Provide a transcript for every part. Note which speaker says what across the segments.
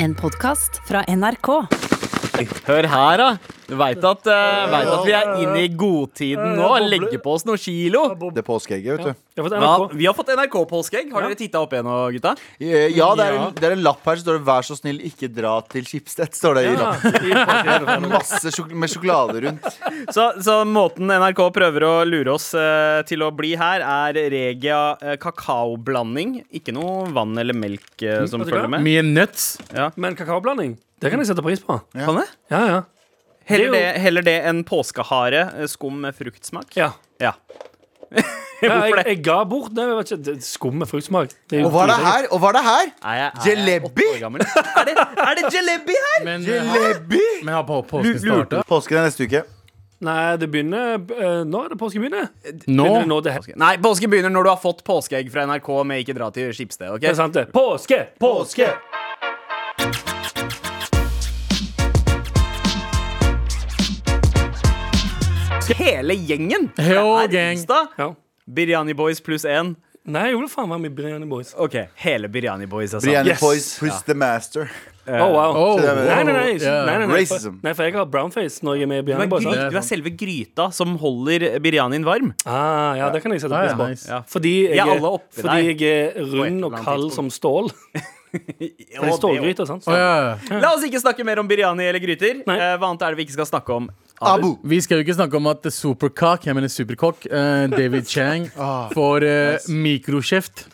Speaker 1: En podkast fra NRK.
Speaker 2: Hør her, da. Du veit at, eh, vet at vi er inne i godtiden nå. Legger på oss noen kilo.
Speaker 3: Det er påskeegget, vet du.
Speaker 4: Jeg har fått
Speaker 2: Ja,
Speaker 4: NRK.
Speaker 2: vi har fått NRK-påskeegg. Har dere titta opp igjen nå, gutta?
Speaker 3: Eh, Ja, det er, en, det er en lapp her. Så står det 'Vær så snill, ikke dra til Schibsted'. Står det i
Speaker 4: Ja,
Speaker 3: lappen. Masse sjok med sjokolade rundt.
Speaker 2: Så, så måten NRK prøver å lure oss eh, til å bli her, er Regia eh, kakaoblanding. Ikke noe vann eller melk eh, som
Speaker 4: Vet du hva?
Speaker 2: følger med.
Speaker 5: Mye nuts.
Speaker 4: Men kakaoblanding, det kan jeg sette pris på.
Speaker 2: Kan det?
Speaker 4: Ja, ja.
Speaker 2: Heller det,
Speaker 4: Det er
Speaker 2: heller det enn påskehare, eh, skum med fruktsmak.
Speaker 4: ja.
Speaker 2: Ja.
Speaker 4: ja jeg,
Speaker 2: Hvorfor det?
Speaker 4: jeg ga bort det. Jeg vet ikke, det- Skum med fruktsmak. Det er jo
Speaker 3: Og hva er det
Speaker 4: tidligere.
Speaker 3: her? Og hva er det her?
Speaker 2: Er jeg, er jeg
Speaker 3: Jalebi?
Speaker 2: åtte år gammel? Er det, er det jalebi her?
Speaker 5: Men,
Speaker 4: eh,
Speaker 3: Jalebi?
Speaker 5: men har på påsken starta?
Speaker 3: Påsken er neste uke.
Speaker 4: Nei, det begynner eh, Når er det påske begynner?
Speaker 5: Nå?
Speaker 4: Begynner det nå det her?
Speaker 2: Nei, påske begynner når du har fått påskeegg fra NRK med Ikke dra til Skipsted.
Speaker 4: Det
Speaker 2: ok?
Speaker 4: er sant, det. Påske! Påske!
Speaker 2: Hele gjengen!
Speaker 5: Yo,
Speaker 2: Det er
Speaker 5: gang.
Speaker 2: onsdag.
Speaker 4: Ja.
Speaker 2: Biryani Boys pluss én.
Speaker 4: Nei, jeg gjorde faen meg med Brianni Boys.
Speaker 2: Ok, hele Biryani Boys, altså.
Speaker 3: Brianna
Speaker 4: Yes.
Speaker 3: Boys, Pris the Master.
Speaker 4: Oh, wow.
Speaker 5: Oh,
Speaker 3: det er-
Speaker 4: Nei, nei, nei, nei,
Speaker 5: ja.
Speaker 4: nei, nei, for,
Speaker 3: Racism.
Speaker 4: nei, for jeg har brownface når jeg er med i
Speaker 2: Du er,
Speaker 4: Brianni Boys.
Speaker 2: gry
Speaker 4: sant?
Speaker 2: du er selve gryta som holder biryanien varm.
Speaker 4: Ah, ja, det kan jeg sette
Speaker 5: Ja,
Speaker 4: pris
Speaker 5: ja,
Speaker 4: på.
Speaker 5: nice.
Speaker 2: Ja.
Speaker 4: Fordi, jeg,
Speaker 2: Ja,
Speaker 4: er-
Speaker 2: alle oppi
Speaker 4: fordi
Speaker 2: der.
Speaker 4: jeg er rund
Speaker 2: eller
Speaker 4: og
Speaker 2: annet
Speaker 4: kald som stål.
Speaker 2: Ja,
Speaker 4: Det er
Speaker 2: det-
Speaker 4: stålgryte, sant?
Speaker 5: Å, ja.
Speaker 2: La oss ikke snakke mer om biryani eller gryter.
Speaker 4: Nei.
Speaker 2: Eh, hva annet er det vi ikke skal snakke om?
Speaker 3: Abu.
Speaker 5: Vi skal jo ikke snakke om at superkak, jeg mener superkokk, eh, David Chang,
Speaker 4: Ah.
Speaker 5: får eh, mikroskjeft.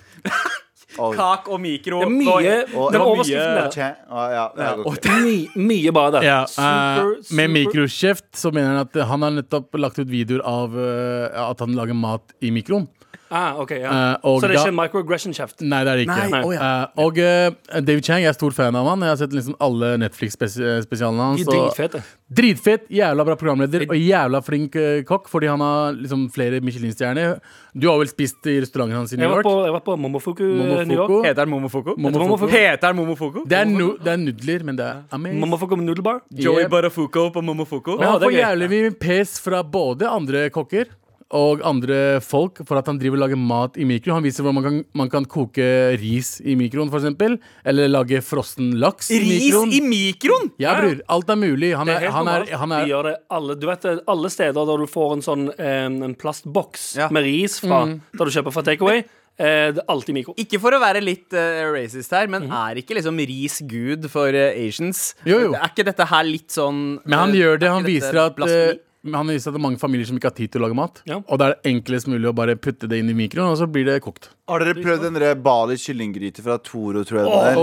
Speaker 3: Oi.
Speaker 2: Kak og mikro.
Speaker 4: Det er mye,
Speaker 3: Og-
Speaker 4: den
Speaker 2: og
Speaker 4: overskriften
Speaker 2: mye-
Speaker 4: der.
Speaker 3: Tja, ah, ja, det er godt.
Speaker 4: My, mye bare der.
Speaker 5: Ja, eh,
Speaker 4: Super, super-
Speaker 5: med mikroskjeft så mener han at han har nettopp lagt ut videoer av eh, at han lager mat i mikroen.
Speaker 4: Ah, ok, ja.
Speaker 5: Eh,
Speaker 4: Så
Speaker 5: og
Speaker 4: det er
Speaker 5: da- Mm,
Speaker 4: ikke microaggression-kjeft?
Speaker 5: Nei, det er det ikke.
Speaker 4: Nei, å
Speaker 5: Eh, og eh, David Chang, jeg er stor fan av han. Jeg har sett liksom alle Netflix-spesialene hans.
Speaker 4: De er
Speaker 5: og-
Speaker 4: dritfete.
Speaker 5: Dritfett, jævla bra programleder og jævla flink eh, kokk, fordi han har liksom flere Michelin-stjerner. Du har vel spist i restauranten hans i
Speaker 4: Jeg
Speaker 5: New
Speaker 4: var
Speaker 5: York?
Speaker 4: på, jeg var på Momofuku,
Speaker 5: Momofuku.
Speaker 4: eh, New York.
Speaker 2: Heter den Momofoko?
Speaker 5: Momofoko.
Speaker 2: Heter den Momofoko?
Speaker 5: Det er, nu, det er nudler, men det er amazing.
Speaker 4: Momofuku med noodlebar.
Speaker 2: Joey
Speaker 5: Yeah.
Speaker 2: Barafuko på Momofoko.
Speaker 5: Men
Speaker 4: Ja,
Speaker 5: han
Speaker 4: det er
Speaker 5: får
Speaker 4: gøy.
Speaker 5: jævlig mye pes fra både andre kokker og andre folk for at han driver og lager mat i mikro. Han viser hvordan man kan, man kan koke ris i mikroen, f.eks. Eller lage frossen laks i
Speaker 2: Ris
Speaker 5: mikroen.
Speaker 2: i mikroen!
Speaker 5: Ja, bror. Alt er mulig. Han
Speaker 4: Det er
Speaker 5: er,
Speaker 4: helt
Speaker 5: han er,
Speaker 4: normalt.
Speaker 5: han
Speaker 4: De
Speaker 5: er
Speaker 4: gjør det alle, du vet, det, alle steder der du får en sånn en, en plastboks
Speaker 2: Ja.
Speaker 4: med ris fra,
Speaker 5: Mm.
Speaker 4: der du kjøper fra takeaway, eh, det er alltid mikro.
Speaker 2: Ikke for å være litt eh, racist her, men er ikke liksom ris gud for eh, Asians?
Speaker 5: Mhm. Jo, jo.
Speaker 2: Er ikke dette her litt sånn
Speaker 5: Men han
Speaker 2: eh,
Speaker 5: gjør det.
Speaker 2: er
Speaker 5: Han
Speaker 2: ikke dette
Speaker 5: viser at
Speaker 2: blasfemi?
Speaker 5: eh, men han viser at det er mange familier som ikke har tid til å lage mat.
Speaker 4: Ja.
Speaker 5: Og det er enklest mulig å bare putte det inn i mikroen, og så blir det kokt.
Speaker 3: Har dere prøvd den der Bali kyllinggryte fra Toro, tror jeg det er?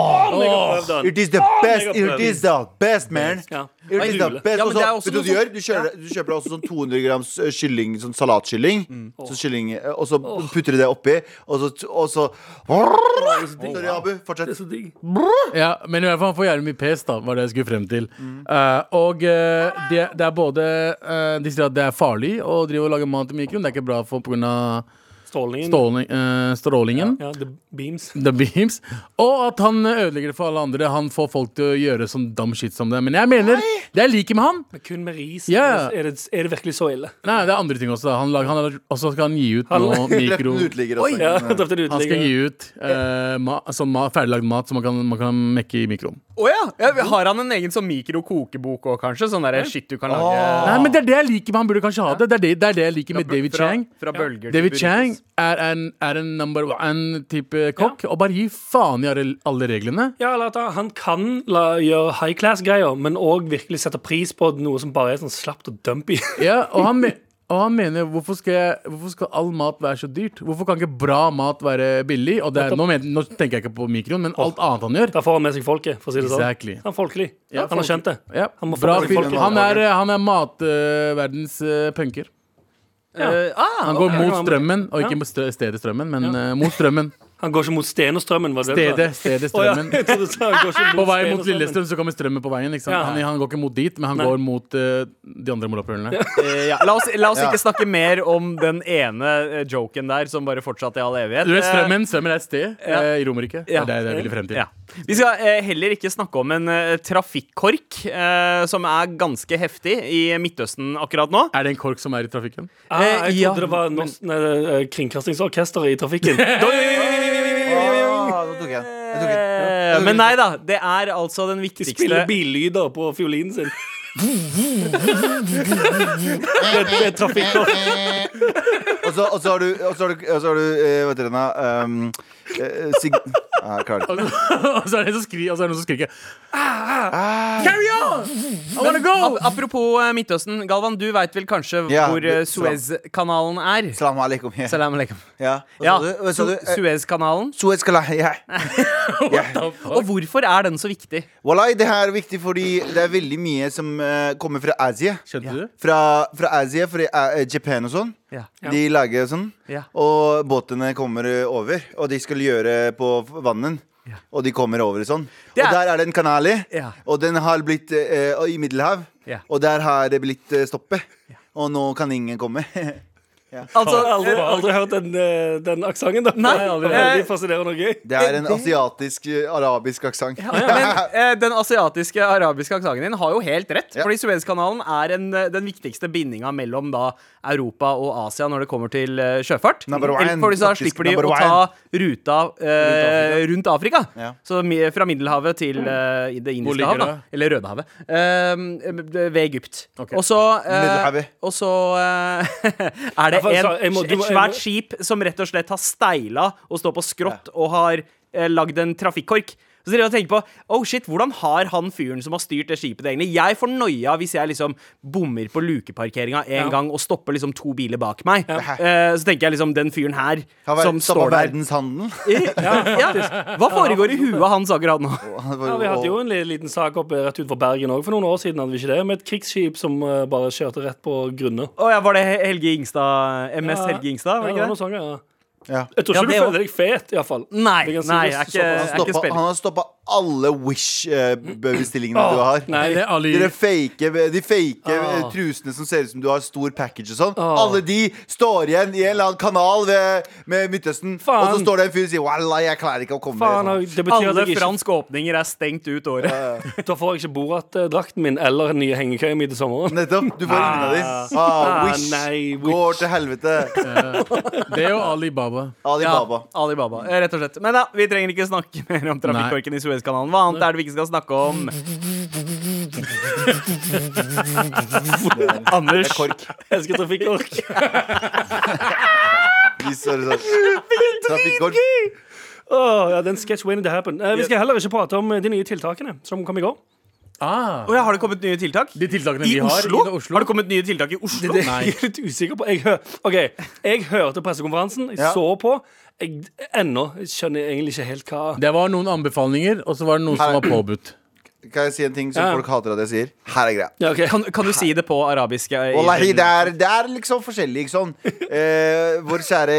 Speaker 4: Åh,
Speaker 3: It is the best, it is the best, man.
Speaker 4: Ja.
Speaker 3: It is the
Speaker 4: Jule.
Speaker 3: best.
Speaker 2: Ja,
Speaker 3: Og
Speaker 2: men det er
Speaker 3: så,
Speaker 2: også noe
Speaker 3: vet du hva du
Speaker 2: sånn
Speaker 3: gjør? Du, kjører, du kjøper også sånn 200 grams eh, kylling, sånn salatkylling,
Speaker 2: Mm.
Speaker 3: så kylling, eh, og så putter du det oppi, og så, og så Sorry, Abu.
Speaker 4: Det er
Speaker 3: Fortsett.
Speaker 4: så digg.
Speaker 5: Ja, men i hvert fall han får jævlig mye pes, da, var det jeg skulle frem til. Eh, og eh, det, det er både eh, De sier at det er farlig å drive og lage mat i mikroen. Det er ikke bra for pga.
Speaker 4: Strålingen.
Speaker 5: Stråling, eh, strålingen.
Speaker 4: Ja, the beams.
Speaker 5: The beams. Og at han ødelegger det for alle andre. Han får folk til å gjøre sånn dum shit som det. Men jeg mener, det jeg liker med han,
Speaker 4: Men kun med ris?
Speaker 5: Ja.
Speaker 4: Er, det, er det virkelig så ille?
Speaker 5: Nei, det er andre ting også. da. Han lager, han har- og så skal han gi ut
Speaker 4: Han-
Speaker 5: noe
Speaker 3: Drept
Speaker 5: mikro...
Speaker 3: en uteligger
Speaker 4: Oi! Ja,
Speaker 3: også.
Speaker 4: drepte en
Speaker 5: Han skal
Speaker 4: uteligger.
Speaker 5: gi ut eh, ma sånn ma ferdiglagd mat som man kan, man kan mekke i mikroen.
Speaker 2: Å ja. ja! Har han en egen sånn mikrokokebok òg, kanskje? Sånn derre shit du kan lage
Speaker 5: Nei, men Det er det jeg liker med han burde kanskje ha det. Det er det, det, er det jeg liker med David
Speaker 2: fra,
Speaker 5: Chang.
Speaker 2: fra bølger til
Speaker 5: David
Speaker 2: burritos.
Speaker 5: Chang er en, er en number one-type kokk. Og bare gi faen i alle- alle reglene.
Speaker 4: Ja, eller at Han kan la, gjøre high class-greier, men òg virkelig sette pris på noe som bare er sånn slapt og dumpy.
Speaker 5: Ja, og han, me og han mener hvorfor skal, jeg, hvorfor skal all mat være så dyrt? Hvorfor kan ikke bra mat være billig? Og det er, nå, men, nå tenker jeg ikke på mikroen, men alt annet han gjør.
Speaker 4: Der får han med seg folket, for å si det sånn.
Speaker 5: Exactly.
Speaker 4: Han er folkelig.
Speaker 5: Ja,
Speaker 4: han har
Speaker 5: folkelig.
Speaker 4: skjønt det.
Speaker 5: Ja,
Speaker 4: Han må få
Speaker 5: bra
Speaker 4: med seg
Speaker 5: fyr.
Speaker 4: folket.
Speaker 5: Han er, han er matverdens eh, punker.
Speaker 4: Ja.
Speaker 2: Eh, ah,
Speaker 5: Han går
Speaker 4: ok.
Speaker 5: mot strømmen, og ikke mot stø- stedet strømmen, men eh, mot strømmen.
Speaker 4: Han går ikke mot Sten og Strømmen. Var det det du
Speaker 5: Stedet,
Speaker 4: sa?
Speaker 5: stedet
Speaker 4: Å, ja.
Speaker 5: strømmen.
Speaker 4: Jeg trodde du sa han går ikke
Speaker 5: På vei
Speaker 4: Sten og
Speaker 5: mot Lillestrøm, så kommer strømmen på veien. Liksom.
Speaker 4: Ja.
Speaker 5: Han, han går ikke mot dit, men han
Speaker 4: Nei.
Speaker 5: går mot eh, de andre molapulene.
Speaker 2: eh, ja. La oss, la oss
Speaker 3: Ja.
Speaker 2: ikke snakke mer om den ene eh, joken der som bare fortsatte i all evighet.
Speaker 5: Du vet,
Speaker 2: Eh,
Speaker 5: strømmen, strømmen er et sted
Speaker 2: Ja.
Speaker 5: eh, i Romerike. Det
Speaker 2: Ja.
Speaker 5: er det jeg ville frem til.
Speaker 2: Ja. Vi skal eh, heller ikke snakke om en eh, trafikkork eh, som er ganske heftig i Midtøsten akkurat nå.
Speaker 5: Er det en kork som er i trafikken?
Speaker 4: Ah, jeg
Speaker 2: Eh, ja,
Speaker 4: trodde det var norsk, nei, eh, Kringkastingsorkesteret i trafikken.
Speaker 3: Åh, Nå tok jeg den. Jeg tok den.
Speaker 2: Eh, eh, men nei da. Det er altså den
Speaker 4: De spiller
Speaker 2: viktigste
Speaker 4: billyder på fiolinen sin. det, det er trafikkort.
Speaker 3: Og så og så har du, og så har du, og så har du eh, Hva heter den da? Um, eh, sig... Nei, jeg klarer det ikke.
Speaker 5: Og så er det en som skri- og så er det noen som skriker ah, ah, Carry on! I wanna
Speaker 2: Ap-
Speaker 5: go!
Speaker 2: Apropos eh, Midtøsten. Galvan, du veit vel kanskje
Speaker 3: Ja,
Speaker 2: hvor eh,
Speaker 3: det-
Speaker 2: Suez-kanalen er?
Speaker 3: Salam alaikum. Ja.
Speaker 2: Salam alaikum.
Speaker 3: Ja. Hva
Speaker 2: Ja,
Speaker 3: sa du? Hva sa
Speaker 2: Su-
Speaker 3: du? Eh,
Speaker 2: Suez-kanalen.
Speaker 3: Suez kala. Ja.
Speaker 2: Og hvorfor er den så viktig?
Speaker 3: Walai, det her er viktig fordi det er veldig mye som eh, kommer fra Asia.
Speaker 5: Skjønte du?
Speaker 3: Fra, fra Asia, fra eh, Japan og sånn.
Speaker 2: Ja.
Speaker 3: De lager sånn.
Speaker 2: Ja.
Speaker 3: Og båtene kommer eh, over. Og de skal gjøre på vannet. Og de kommer over og sånn.
Speaker 2: Det
Speaker 3: Og
Speaker 2: er-
Speaker 3: der er det en kanal i.
Speaker 2: Ja.
Speaker 3: Og den har blitt eh, og i Middelhav.
Speaker 2: Ja.
Speaker 3: Og der har det blitt eh, stoppet. Og nå kan ingen komme.
Speaker 2: Altså,
Speaker 4: Jeg har aldri,
Speaker 2: eh,
Speaker 4: aldri hørt den, eh, den aksenten. da.
Speaker 2: Nei.
Speaker 4: Det var Veldig fascinerende og gøy.
Speaker 3: Det er en asiatisk, eh, arabisk aksent.
Speaker 2: Men eh, den asiatiske arabiske aksenten din har jo helt rett.
Speaker 3: Ja.
Speaker 2: Fordi Suezkanalen er en, eh, den viktigste bindinga mellom da, Europa og Asia når det kommer til eh, sjøfart.
Speaker 3: Number one,
Speaker 2: Eller, fordi så
Speaker 3: faktisk
Speaker 2: slipper de
Speaker 3: number
Speaker 2: å
Speaker 3: one.
Speaker 2: ta ruta eh, rundt Afrika.
Speaker 3: Ja. Mm.
Speaker 2: Så mi- fra Middelhavet til eh, i Det indiske
Speaker 5: ligger
Speaker 2: hav, da.
Speaker 5: det?
Speaker 2: Eller Rødehavet. Eh, ved Egypt.
Speaker 5: Ok.
Speaker 2: Og så eh,
Speaker 3: Middelhavet.
Speaker 2: Og så eh, er det
Speaker 4: for-
Speaker 2: en,
Speaker 4: så jeg må- du
Speaker 2: et
Speaker 4: må- jeg må-
Speaker 2: svært skip som rett og slett har steila og står på skrått og har eh, lagd en trafikkork. Så dere tenker på oh shit, hvordan har han fyren som har styrt det skipet, det egentlig? Jeg får noia hvis jeg liksom bommer på lukeparkeringa en
Speaker 4: Ja.
Speaker 2: gang og stopper liksom to biler bak meg. Eh, så tenker jeg liksom den fyren her
Speaker 3: Han har
Speaker 2: som står der.
Speaker 3: verdenshandelen.
Speaker 2: ja. Hva foregår i huet hans akkurat nå?
Speaker 4: Ja, vi hadde jo en li- liten sak oppe rett utenfor Bergen òg for noen år siden. hadde vi ikke det, Med et krigsskip som eh, bare kjørte rett på grunne.
Speaker 2: Å ja, var det Helge Ingstad? MS Helge Ingstad? Var det
Speaker 4: Ja,
Speaker 2: ikke
Speaker 4: noe
Speaker 2: det?
Speaker 4: sånt, ja.
Speaker 3: Ja.
Speaker 4: Jeg tror
Speaker 2: Ja,
Speaker 4: ikke
Speaker 2: det
Speaker 4: du
Speaker 2: var-
Speaker 4: føler deg fet, iallfall.
Speaker 2: Nei, nei, jeg er ikke,
Speaker 3: Han
Speaker 2: jeg Eh, er ikke
Speaker 3: stoppa-
Speaker 2: spiller.
Speaker 3: han har stoppa alle Wish-bestillingene du har.
Speaker 4: Nei.
Speaker 5: Eller Ali
Speaker 3: De der fake, de fake
Speaker 4: Ah.
Speaker 3: eh, trusene som ser ut som du har stor package og sånn. Alle de står igjen i en eller annen kanal ved, med Midtøsten,
Speaker 4: Faen.
Speaker 3: og så står det en fyr og sier Wallah, jeg klarer ikke å komme.
Speaker 4: Faen,
Speaker 3: Sånn.
Speaker 4: det betyr
Speaker 2: Alle
Speaker 4: at jeg ikke,
Speaker 2: franske åpninger er stengt ut året.
Speaker 4: da får jeg ikke Borat-drakten min eller den nye hengekøya mi til sommeren.
Speaker 3: Nettopp. Du får ingen av de. Ah,
Speaker 4: Ah,
Speaker 3: wish
Speaker 4: nei, Wish.
Speaker 3: går til helvete.
Speaker 5: Det er jo Ali Baba.
Speaker 3: Ali
Speaker 2: Ja,
Speaker 3: Baba.
Speaker 2: Alibaba, eh, rett og slett. Men ja, vi trenger ikke snakke mer om trafikkorken i Suezkanalen. Hva annet er det vi ikke skal snakke om? Anders.
Speaker 3: Kork.
Speaker 4: Elsker trafikkork.
Speaker 3: De står sånn. Trafikkork.
Speaker 4: Åh, ja, den sketch waiting to happen. Eh, vi skal heller ikke prate om eh, de nye tiltakene som kom i går.
Speaker 5: Ah,
Speaker 2: Å ja, har det kommet nye tiltak?
Speaker 5: de tiltakene
Speaker 2: I
Speaker 5: vi har
Speaker 2: Oslo?
Speaker 5: i Oslo.
Speaker 2: Har det kommet nye tiltak i Oslo?
Speaker 4: Det er jeg litt usikker på. Jeg, hø Ok, jeg hørte pressekonferansen, jeg
Speaker 3: Ja.
Speaker 4: så på. Jeg, ennå skjønner jeg egentlig ikke helt hva
Speaker 5: Det var noen anbefalinger, og så var det noen som var påbudt.
Speaker 3: Kan jeg si en ting som
Speaker 4: Ja.
Speaker 3: folk hater at jeg sier? Her er greia.
Speaker 4: ja, ok.
Speaker 2: Kan, kan du si det på arabisk? eh, i-
Speaker 3: Wallahi, det er, det er liksom forskjellig, ikke sånn. Eh, vår kjære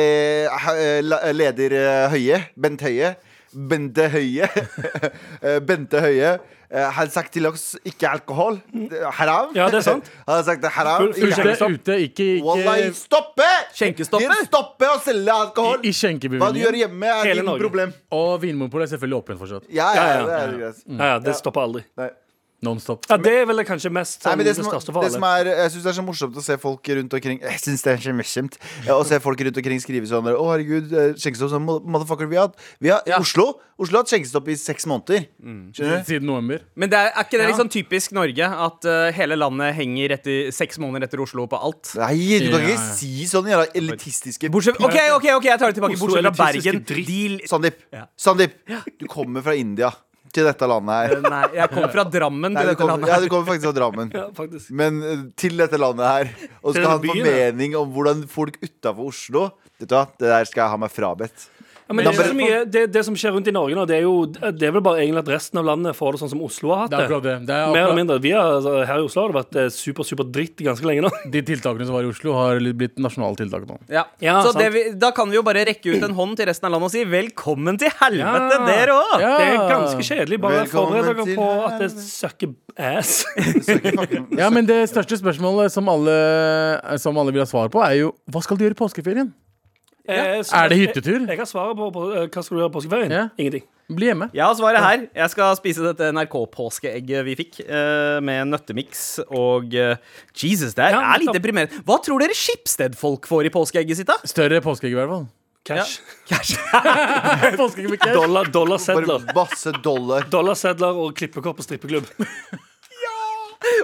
Speaker 3: eh, la- leder eh, Høie, Bent Høie. Bente Høie. Eh, Bente Høie eh, har sagt til oss ikke alkohol. Det er Haram.
Speaker 4: Ja, det er sant.
Speaker 3: Han har sagt det er haram.
Speaker 4: Full- full
Speaker 3: Ikke-
Speaker 4: skjenk-
Speaker 5: Ute,
Speaker 4: Skjenkestopp.
Speaker 5: ute ikke,
Speaker 3: Wallahi,
Speaker 5: ikke
Speaker 3: stoppe!
Speaker 2: Skjenkestoppe?
Speaker 3: Dere Stoppe å selge alkohol.
Speaker 5: i
Speaker 3: Hva du gjør
Speaker 5: skjenkebevilgningen.
Speaker 3: hjemme, er
Speaker 4: Hele
Speaker 3: ditt
Speaker 4: Norge.
Speaker 3: problem.
Speaker 5: Og Vinmonopolet er selvfølgelig åpent fortsatt.
Speaker 3: Ja, ja,
Speaker 4: Ja, ja.
Speaker 3: det er greit.
Speaker 5: Mm.
Speaker 4: ja, ja, det stopper aldri.
Speaker 3: Nei.
Speaker 5: Nonstop.
Speaker 4: Ja, det er vel kanskje mest
Speaker 3: Nei,
Speaker 4: sånn,
Speaker 3: men
Speaker 4: det,
Speaker 3: det som,
Speaker 4: største
Speaker 3: det
Speaker 4: for
Speaker 3: som
Speaker 4: alle.
Speaker 3: er, jeg syns det er så morsomt å se folk rundt omkring Jeg synes det er så morsomt eh, Å se folk rundt omkring skrive sånn der, Å herregud, eh, skjenkestopp sånn, mo- Motherfucker, vi har hatt vi har, Oslo, Oslo har hatt skjenkestopp i seks måneder Skjønner du?
Speaker 5: Siden november.
Speaker 2: Men det er, er ikke det liksom typisk Norge at eh, hele landet henger etter, seks måneder etter Oslo på alt?
Speaker 3: Nei, du kan
Speaker 5: Ja,
Speaker 3: ikke
Speaker 5: ja.
Speaker 3: si sånne jævla elitistiske
Speaker 2: Bortsett, OK, ok, ok, jeg tar det tilbake.
Speaker 4: Oslo
Speaker 2: Bortsett fra
Speaker 4: elitistiske
Speaker 2: Bergen.
Speaker 4: dritt.
Speaker 2: De
Speaker 3: Sandeep, Sandeep Du kommer fra India til dette landet her
Speaker 2: Nei, jeg kommer fra Drammen
Speaker 3: Nei,
Speaker 2: til
Speaker 3: du
Speaker 2: dette
Speaker 3: kommer,
Speaker 2: landet.
Speaker 3: ja, du kommer faktisk fra Drammen
Speaker 4: Ja, faktisk.
Speaker 3: Men eh, til dette landet her Og
Speaker 4: Til
Speaker 3: skal ha en
Speaker 4: denne byen, ja.
Speaker 3: formening om hvordan folk utenfor Oslo Vet du hva, det der skal jeg ha meg frabedt
Speaker 4: Ja, men det, er ikke så mye, det, det som skjer rundt i Norge nå, det er jo Det er vel bare egentlig at resten av landet får det sånn som Oslo har hatt
Speaker 5: Det er
Speaker 4: det.
Speaker 5: akkurat det. det
Speaker 4: Mer
Speaker 5: er
Speaker 4: eller
Speaker 5: akkurat
Speaker 4: mindre. Vi har, altså, her i Oslo har det vært eh, super, super dritt ganske lenge nå.
Speaker 5: de tiltakene som var i Oslo, har litt blitt nasjonale tiltak nå.
Speaker 2: Ja.
Speaker 4: Ja,
Speaker 2: så
Speaker 4: sant.
Speaker 2: det vi, da kan vi jo bare rekke ut en hånd til resten av landet og si velkommen til helvete,
Speaker 4: Ja.
Speaker 2: dere òg!
Speaker 5: Ja.
Speaker 4: Det er ganske kjedelig. Bare
Speaker 3: Velkommen
Speaker 4: forbered dere
Speaker 3: til
Speaker 4: på at det søkker ass.
Speaker 5: Ja, men det største spørsmålet som alle, som alle vil ha svar på, er jo hva skal du gjøre i påskeferien?
Speaker 4: Eh, så-
Speaker 5: Er det hyttetur?
Speaker 4: Jeg, jeg har svaret på, på eh, hva skal du gjøre i påskeferien.
Speaker 5: Ja.
Speaker 4: Ingenting.
Speaker 5: Bli hjemme.
Speaker 2: Jeg har svaret her. Jeg skal spise dette NRK-påskeegget vi fikk, eh, med nøttemiks og eh, Jesus, det er,
Speaker 4: Ja,
Speaker 2: er litt
Speaker 4: nettopp.
Speaker 2: deprimerende. Hva tror dere Skipsted-folk får i påskeegget sitt, da?
Speaker 5: Større påskeegg, i hvert fall.
Speaker 4: Cash.
Speaker 5: Påskeegg med cash.
Speaker 4: Dollar, dollarsedler.
Speaker 3: Bare masse dollar.
Speaker 4: Dollarsedler og klippekort på strippeklubb.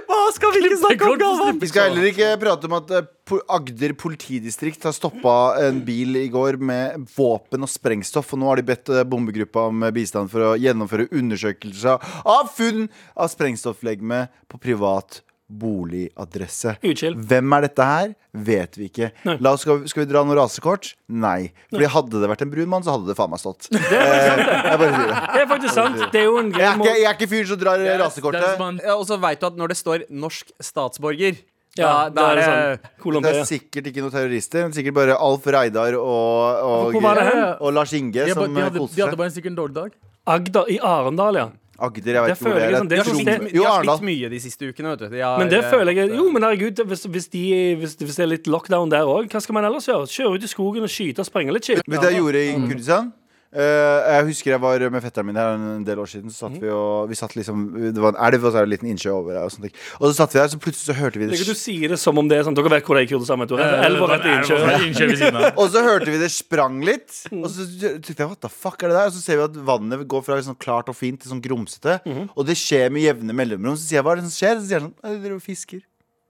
Speaker 2: Hva skal vi ikke snakke om,
Speaker 5: Klippekort på
Speaker 2: Galvan?
Speaker 3: Vi skal heller ikke prate om at eh, po- Agder politidistrikt har stoppa en bil i går med våpen og sprengstoff, og nå har de bedt eh, bombegruppa om eh, bistand for å gjennomføre undersøkelser av funn av sprengstofflegeme på privat boligadresse.
Speaker 4: Uchill.
Speaker 3: Hvem er dette her? Vet vi ikke. La oss, skal, vi- skal vi dra noen rasekort? Nei. Fordi hadde det vært en brun mann, så hadde det faen meg stått. Eh, jeg bare sier det.
Speaker 4: Det er faktisk sant. Det er jo en
Speaker 3: Jeg
Speaker 4: grei
Speaker 3: er ikke,
Speaker 4: måte
Speaker 3: jeg er ikke fyren som drar eh,
Speaker 5: That is
Speaker 3: rasekortet.
Speaker 5: man-
Speaker 2: Ja, og så veit du at når det står 'norsk statsborger',
Speaker 4: Ja,
Speaker 2: da, da er det
Speaker 4: sånn.
Speaker 3: Det
Speaker 4: Colombia.
Speaker 3: er sikkert ikke noen terrorister, men sikkert bare Alf Reidar og,
Speaker 4: Hvor
Speaker 3: og,
Speaker 4: var det hen?
Speaker 3: og Lars Inge
Speaker 5: De,
Speaker 3: som
Speaker 5: ba- de, hadde,
Speaker 3: koser
Speaker 5: de hadde
Speaker 3: seg.
Speaker 5: bare en sikkert en dårlig dag.
Speaker 4: Agder. I Arendal, ja.
Speaker 3: Agder, jeg vet ikke
Speaker 4: Det
Speaker 3: hvor det
Speaker 4: føler
Speaker 3: er.
Speaker 4: jeg liksom, det er
Speaker 3: Jeg
Speaker 4: så
Speaker 3: tror-
Speaker 4: slitt-
Speaker 2: De
Speaker 3: Jo,
Speaker 2: har
Speaker 3: Arendal.
Speaker 2: slitt mye de siste ukene, vet du. De har,
Speaker 4: Men det
Speaker 2: eh,
Speaker 4: føler jeg Jo, men herregud, hvis, hvis, de, hvis, hvis det er litt lockdown der òg, hva skal man ellers gjøre? Kjøre ut i skogen og skyte og sprenge litt shit?
Speaker 3: Vet du hva jeg gjorde i Kurdistan? Eh, jeg husker jeg var med fetteren min her en del år siden. Så satt vi og vi satt liksom Det var en elv, og så er det en liten innsjø over her. Og, sånne ting. og så satt vi der, så plutselig så hørte vi det
Speaker 4: Ikke Du sier det som om det er sånn Dere vet hvor det er i Kurdistan, vet du. Elva rett i innsjø.
Speaker 5: Innkjør ved siden av.
Speaker 3: Og så hørte vi det sprang litt.
Speaker 4: Mm.
Speaker 3: Og så tenkte jeg, what the fuck er det der? Og så ser vi at vannet går fra sånn klart og fint til sånn grumsete.
Speaker 4: Mhm.
Speaker 3: Og det skjer med jevne mellomrom. Så sier jeg, hva er det som skjer? Så sier han sånn, «Nei, de driver og fisker.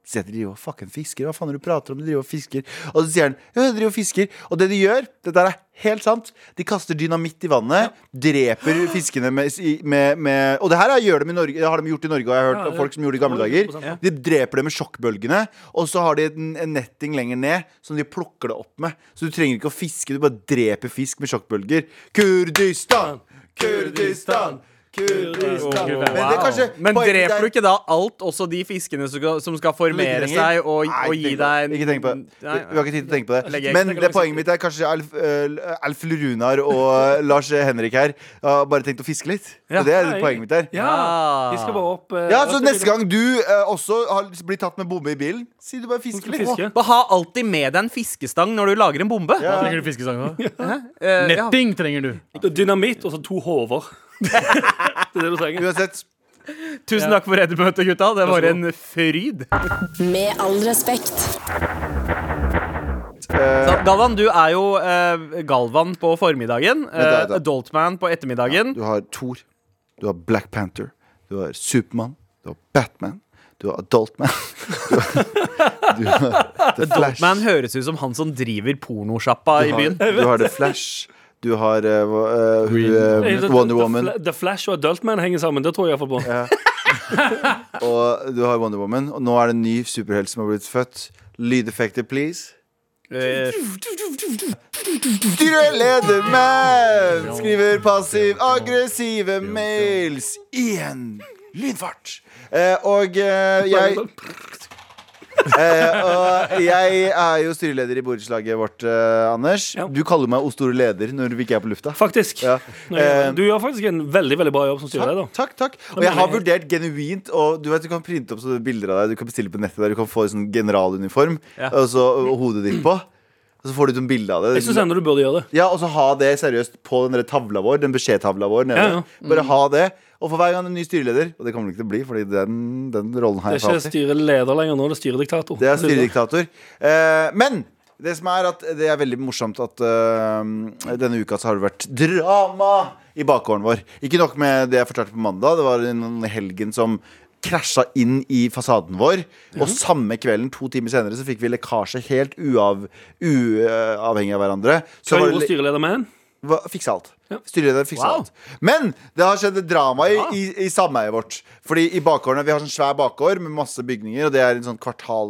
Speaker 3: Så sier jeg, de driver og fucking fisker. Hva faen er det du prater om? De driver og fisker. Og så sier han, ja, de driver og fisker. Og det de gjør, dette er helt sant, de kaster dynamitt i vannet, dreper fiskene med, i- med, med Og det her er- gjør de i Norge, det har de gjort i Norge, og jeg har hørt
Speaker 4: Ja,
Speaker 3: av
Speaker 4: ja.
Speaker 3: folk som gjorde det i gamle dager.
Speaker 4: Ja.
Speaker 3: De dreper det med sjokkbølgene, og så har de en, en netting lenger ned som de plukker det opp med. Så du trenger ikke å fiske, du bare dreper fisk med sjokkbølger. Kurdistan! Kurdistan! Kurdistan!
Speaker 5: Wow.
Speaker 3: Men det er kanskje
Speaker 2: Men
Speaker 3: poenget der-
Speaker 2: dreper du ikke da alt, også de fiskene som skal, som skal formere
Speaker 3: Ligninger.
Speaker 2: seg og,
Speaker 3: Nei,
Speaker 2: og gi
Speaker 3: ikke tenk på det.
Speaker 2: deg en-
Speaker 3: Ikke tenk på det. Vi
Speaker 2: Nei,
Speaker 3: vi har ikke tid til å tenke på
Speaker 2: Legger
Speaker 3: det.
Speaker 2: jeg-
Speaker 3: Men
Speaker 2: legger
Speaker 3: det
Speaker 2: langsiktig.
Speaker 3: poenget mitt er kanskje Alf, eh, Alf Runar og eh, Lars Henrik her har bare tenkt å fiske litt.
Speaker 2: Ja.
Speaker 3: Og det er poenget mitt her.
Speaker 4: Ja,
Speaker 2: Ah.
Speaker 4: de skal bare opp eh,
Speaker 3: Ja,
Speaker 4: rett
Speaker 3: så
Speaker 4: i
Speaker 3: neste gang du eh, også har, blir tatt med bombe i bilen, si du bare fisker
Speaker 4: skal
Speaker 3: litt.
Speaker 4: fiske.
Speaker 2: Bare ha alltid med deg en fiskestang når du lager en bombe.
Speaker 3: Ja.
Speaker 5: Trenger du fiskesang nå?
Speaker 2: Eh, ja.
Speaker 5: Netting trenger du.
Speaker 4: Dynamitt og så to hover. det er det du trenger.
Speaker 3: Uansett.
Speaker 2: Tusen takk for eddermøtet, gutta. Det var
Speaker 4: god.
Speaker 2: en fryd.
Speaker 1: Med all respekt.
Speaker 2: Da- Galvan, du er jo eh, Galvan på formiddagen.
Speaker 3: da,
Speaker 2: eh,
Speaker 3: da.
Speaker 2: Adultman på ettermiddagen.
Speaker 3: Du har Thor, du har Black Panther, du har Supermann, du har Batman, du har Adultman. Du har, du har The Flash.
Speaker 2: Man høres ut som han som driver pornosjappa i
Speaker 3: du,
Speaker 2: byen.
Speaker 3: har, du har The Flash. Du har eh, hva- eh, hun, eh, Wonder Woman.
Speaker 4: The, Flash og Adultman henger sammen. Det tror jeg iallfall på.
Speaker 3: Og du har Wonder Woman. Og nå er det en ny superhelt som har blitt født. Lydeffekter, please.
Speaker 2: Eh,
Speaker 3: Styreledermann skriver passiv-aggressive mails i en lydfart. Eh, og eh, jeg
Speaker 4: sånn.
Speaker 3: Eh, og jeg er jo styreleder i borettslaget vårt, eh, Anders.
Speaker 4: Ja.
Speaker 3: Du kaller meg O store leder når vi ikke er på lufta.
Speaker 4: Faktisk.
Speaker 3: Ja. Eh,
Speaker 4: Du gjør faktisk en veldig veldig bra jobb som styreleder.
Speaker 3: Takk, takk. Og jeg har
Speaker 4: mener
Speaker 3: vurdert genuint. Og Du vet, du kan printe opp sånne bilder av deg. Du kan bestille på nettet der Du kan få en sånn generaluniform
Speaker 2: Ja.
Speaker 3: og, så, og hodet ditt på. Og så får du et sånt bilde av det.
Speaker 4: Jeg syns ennå du burde gjøre det.
Speaker 3: Ja, og så ha det seriøst på den der tavla vår, den beskjedtavla vår nede.
Speaker 4: Ja, Mm. ja.
Speaker 3: Bare ha det. Og for hver gang det er en ny styreleder, og det kommer det ikke til å bli, Fordi den, den rollen har
Speaker 4: Det
Speaker 3: jeg for
Speaker 4: er ikke
Speaker 3: alltid.
Speaker 4: styreleder lenger nå, det er styrediktator.
Speaker 3: Det er styrediktator. Eh, men det som er at det er veldig morsomt at eh, denne uka så har det vært drama i bakgården vår. Ikke nok med det jeg fortalte på mandag. Det var en helgen som krasja inn i fasaden vår. Og samme kvelden, to timer senere, så fikk vi lekkasje helt uav, uavhengig av hverandre. Så var
Speaker 4: Hva
Speaker 3: det
Speaker 4: gjorde
Speaker 3: le-
Speaker 4: styreleder med en?
Speaker 3: hva, fiksa alt.
Speaker 4: Ja.
Speaker 3: Styreleder fiksa
Speaker 2: Wow.
Speaker 3: alt. Men det har skjedd et drama i, i, i sameiet vårt. Fordi i bakgårdene, Vi har sånn svær bakgård med masse bygninger, og det er en sånn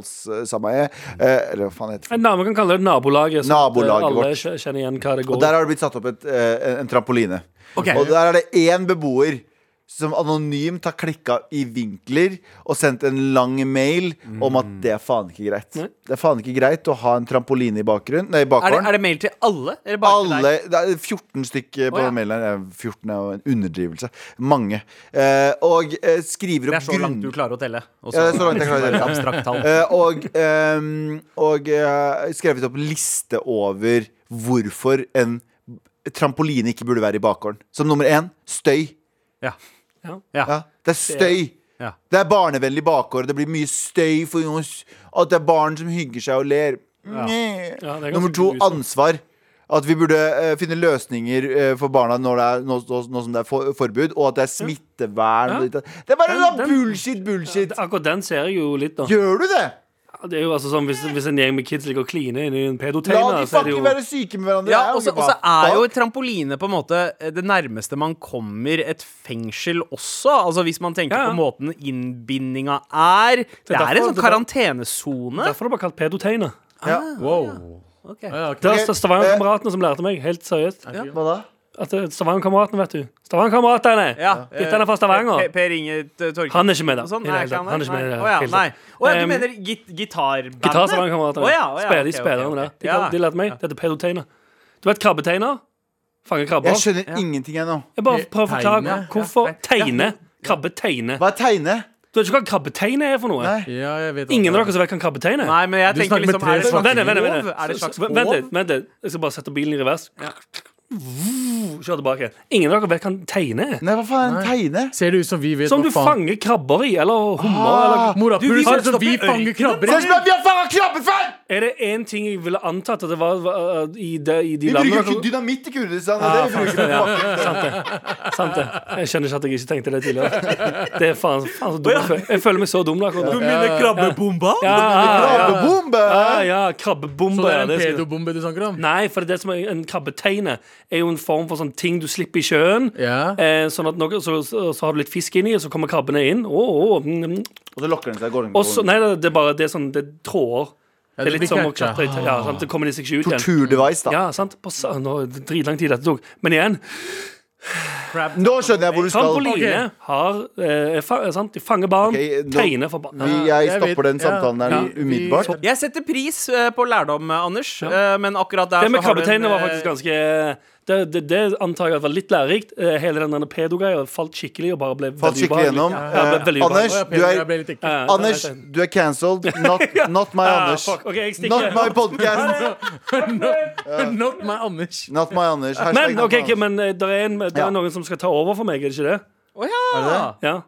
Speaker 3: kvartalssameie. Eh, eller hva faen heter det?
Speaker 4: En dame kan kalle det nabolaget. sånn at, eh,
Speaker 3: Nabolaget
Speaker 4: alle
Speaker 3: vårt.
Speaker 4: kje- kjenner igjen hva det går
Speaker 3: Og der har det blitt satt opp et, eh, en trampoline.
Speaker 2: Ok.
Speaker 3: Og der er det én beboer som anonymt har klikka i vinkler og sendt en lang mail om
Speaker 2: Mm.
Speaker 3: at det er faen ikke greit. Det er faen ikke greit å ha en trampoline i bakgrunnen. Nei, i
Speaker 2: er, det,
Speaker 3: bakgården.
Speaker 2: er det mail til alle? Eller bare til deg?
Speaker 3: Alle, det er 14 stykk eh, på
Speaker 2: Å, ja.
Speaker 3: mailen. her. Eh, 14 er jo en underdrivelse. Mange. Eh, og eh, skriver
Speaker 2: Det
Speaker 3: opp
Speaker 2: er så langt du klarer å telle. Også,
Speaker 3: Ja, det er så langt jeg klarer å telle.
Speaker 2: Abstrakt tall.
Speaker 3: Eh, og ehm, og eh, skrevet opp liste over hvorfor en trampoline ikke burde være i bakgården. Som nummer én støy.
Speaker 2: Ja.
Speaker 4: Ja.
Speaker 3: Ja, det er støy.
Speaker 2: Ja.
Speaker 3: Det er barnevennlig bakgård. Det blir mye støy for oss. At det er barn som hygger seg og ler. Nye.
Speaker 4: Ja, det er ganske
Speaker 3: Nummer to
Speaker 4: grusomt.
Speaker 3: ansvar. At vi burde eh, finne løsninger eh, for barna når det er, nå, nå, nå som det er for, forbud, og at det er smittevern. og
Speaker 4: Ja.
Speaker 3: ditt- Det er bare
Speaker 4: Den-
Speaker 3: sånn
Speaker 4: den-
Speaker 3: bullshit, bullshit!
Speaker 4: Akkurat den ser jeg jo litt, da.
Speaker 3: Gjør du det?
Speaker 4: Det er jo altså sånn, Hvis, hvis en gjeng med kids ligger og kliner inni en
Speaker 3: La
Speaker 4: pedotainer,
Speaker 3: de
Speaker 4: så er det
Speaker 3: fucking
Speaker 4: jo
Speaker 3: være syke med hverandre.
Speaker 2: Ja,
Speaker 3: Det er jo
Speaker 2: og så
Speaker 3: ikke
Speaker 2: og så
Speaker 3: bra.
Speaker 2: er jo trampoline på en måte det nærmeste man kommer et fengsel også. Altså Hvis man tenker
Speaker 4: Ja, ja.
Speaker 2: på måten innbindinga er. Det er en sånn
Speaker 4: derfor-
Speaker 2: karantenesone.
Speaker 4: Derfor er det bare kalt pedotainer.
Speaker 3: Ja.
Speaker 2: Ah.
Speaker 5: Wow.
Speaker 2: Ok.
Speaker 5: Ja, ja, ok.
Speaker 3: Ok,
Speaker 4: Det
Speaker 3: Eh.
Speaker 4: er altså Stavanger-kameratene som lærte meg, helt seriøst.
Speaker 3: Hva da?
Speaker 4: At det er Stavanger-kameratene, vet du. Stavanger-kameratene!
Speaker 2: Ja,
Speaker 4: Guttene er fra Stavanger.
Speaker 2: Per, per Inge T- Torkelsen.
Speaker 4: Han er ikke med, da.
Speaker 2: Og Sånn?
Speaker 4: I det
Speaker 2: Nei,
Speaker 4: hele tatt.
Speaker 2: ikke
Speaker 4: Han er ikke med i det
Speaker 2: Å ja,
Speaker 4: hele
Speaker 2: nei.
Speaker 4: tatt.
Speaker 2: Å ja, du
Speaker 4: Um,
Speaker 2: mener git gitarbandet?
Speaker 4: Gitarstavanger-kameratene.
Speaker 2: Å ja, å ja,
Speaker 4: Spiller
Speaker 2: ok,
Speaker 4: de
Speaker 2: ok,
Speaker 4: spillerne
Speaker 2: ok.
Speaker 4: der. De,
Speaker 2: Ja.
Speaker 4: kan- de lærte meg. Det heter pedotainer. Du vet krabbeteiner? Fange krabber.
Speaker 3: Jeg skjønner ingenting ennå.
Speaker 4: Jeg bare prøver å forklare
Speaker 5: Tegne.
Speaker 4: hvorfor
Speaker 2: Ja, nei.
Speaker 4: tegne. Krabbeteine.
Speaker 3: Hva er tegne?
Speaker 4: Du vet ikke hva krabbeteine er for noe?
Speaker 3: Nei.
Speaker 5: Ja, jeg vet
Speaker 4: Ingen av
Speaker 5: at-
Speaker 4: dere som vet hva krabbeteine er?
Speaker 2: Nei, men jeg
Speaker 5: Du
Speaker 2: tenker
Speaker 5: snakker med
Speaker 2: liksom Er det
Speaker 5: tre
Speaker 2: slags
Speaker 4: Vent litt, vent litt,
Speaker 2: hov?
Speaker 4: vent litt.
Speaker 2: Er det slags
Speaker 4: Så- Vent
Speaker 2: hov?
Speaker 4: litt. vent litt. Jeg skal bare sette bilen i revers. Kjør tilbake. Ingen av dere vet hva en teine er?
Speaker 3: Nei, hva faen er en tegne?
Speaker 5: Ser det ut som vi vet
Speaker 4: Som
Speaker 5: hva
Speaker 4: du
Speaker 5: faen
Speaker 4: fanger krabber i, eller hummer, eller
Speaker 5: Ah,
Speaker 3: Ah!
Speaker 2: Du, vi
Speaker 5: Morapuler ser ut
Speaker 2: vokste
Speaker 5: som
Speaker 2: opp i
Speaker 5: vi
Speaker 2: ørkenen,
Speaker 5: fanger krabber
Speaker 3: Se
Speaker 5: i.
Speaker 3: som om vi har faen krabben før!
Speaker 4: Er det én ting jeg ville antatt at det var var, uh, i, det, i de
Speaker 3: Vi bruker
Speaker 4: landene
Speaker 3: ikke dynamitt i Kurdistan. og det vi bruker på bakken.
Speaker 4: Sant det. Jeg skjønner ikke at jeg ikke tenkte det tidligere. Det er faen, faen så dumt. Jeg føler- Jeg føler meg så dum da. akkurat
Speaker 2: Du
Speaker 4: nå.
Speaker 2: mener krabbebomba?
Speaker 4: Ja, ja, ja.
Speaker 3: Krabbebombe!
Speaker 4: Ja, ja,
Speaker 5: Så
Speaker 4: krabbebombe.
Speaker 5: det er en
Speaker 4: det skal-
Speaker 5: pedobombe du snakker om?
Speaker 4: Nei, for det som er en krabbeteine, er jo en form for sånn ting du slipper i sjøen.
Speaker 5: Ja.
Speaker 4: Eh, sånn at noe, så, så, så har du litt fisk inni, og så kommer krabbene inn. Å, å, mm, mm.
Speaker 3: Og så lokker den seg. Går den,
Speaker 4: Og så, nei, det det er bare det er sånn, det er tråder.
Speaker 5: Ja,
Speaker 4: Det
Speaker 5: det
Speaker 4: er
Speaker 5: blir
Speaker 4: litt som å
Speaker 5: catcha.
Speaker 4: klatre i tre- ja, sant? Det kommer de seg ikke ut igjen.
Speaker 3: Torturdevice, da.
Speaker 4: Ja, sant? På, sa- nå, det er dritlang tid dette tok. Men igjen,
Speaker 3: Nå skjønner jeg hvor du skal.
Speaker 4: trampoline har eh, fa eh, sant? De fanger barn,
Speaker 3: Ok, nå- Mm.
Speaker 4: tegner for barn.
Speaker 3: Vi,
Speaker 5: Jeg
Speaker 3: jeg
Speaker 5: vet-
Speaker 3: stopper den
Speaker 5: ja.
Speaker 3: samtalen der
Speaker 5: Ja.
Speaker 3: umiddelbart.
Speaker 5: Vi-
Speaker 2: Jeg setter pris eh, på lærdom, eh, Anders, eh, men akkurat der
Speaker 4: Det med
Speaker 2: så har du en,
Speaker 4: krabbetegnene var
Speaker 2: eh,
Speaker 4: faktisk ganske Det, det, det antar jeg at var litt lærerikt. Eh, Hele den der pedo-greia falt skikkelig og bare ble
Speaker 3: Falt
Speaker 4: veldig
Speaker 3: skikkelig
Speaker 4: ubehagelig.
Speaker 3: gjennom.
Speaker 4: Ja, det ble veldig
Speaker 3: Eh, Anders,
Speaker 4: ubehagelig.
Speaker 5: Å, jeg
Speaker 3: du
Speaker 5: ble- jeg ble
Speaker 3: er
Speaker 5: litt ekkel.
Speaker 4: Ja, ja,
Speaker 3: Anders,
Speaker 4: det er-
Speaker 3: du er cancelled. Not, not my
Speaker 4: Ah,
Speaker 3: Anders.
Speaker 4: fuck. Ok, jeg stikker.
Speaker 3: Not my podcast.
Speaker 5: Not my Anders.
Speaker 3: Not my Anders. Hashtag
Speaker 4: Men,
Speaker 3: not
Speaker 4: ok,
Speaker 3: my
Speaker 4: ok,
Speaker 3: Anders.
Speaker 4: men eh, der er, en, der
Speaker 3: Ja.
Speaker 4: er noen som skal ta over for meg, er det ikke det?
Speaker 2: Å ja!
Speaker 4: Ja.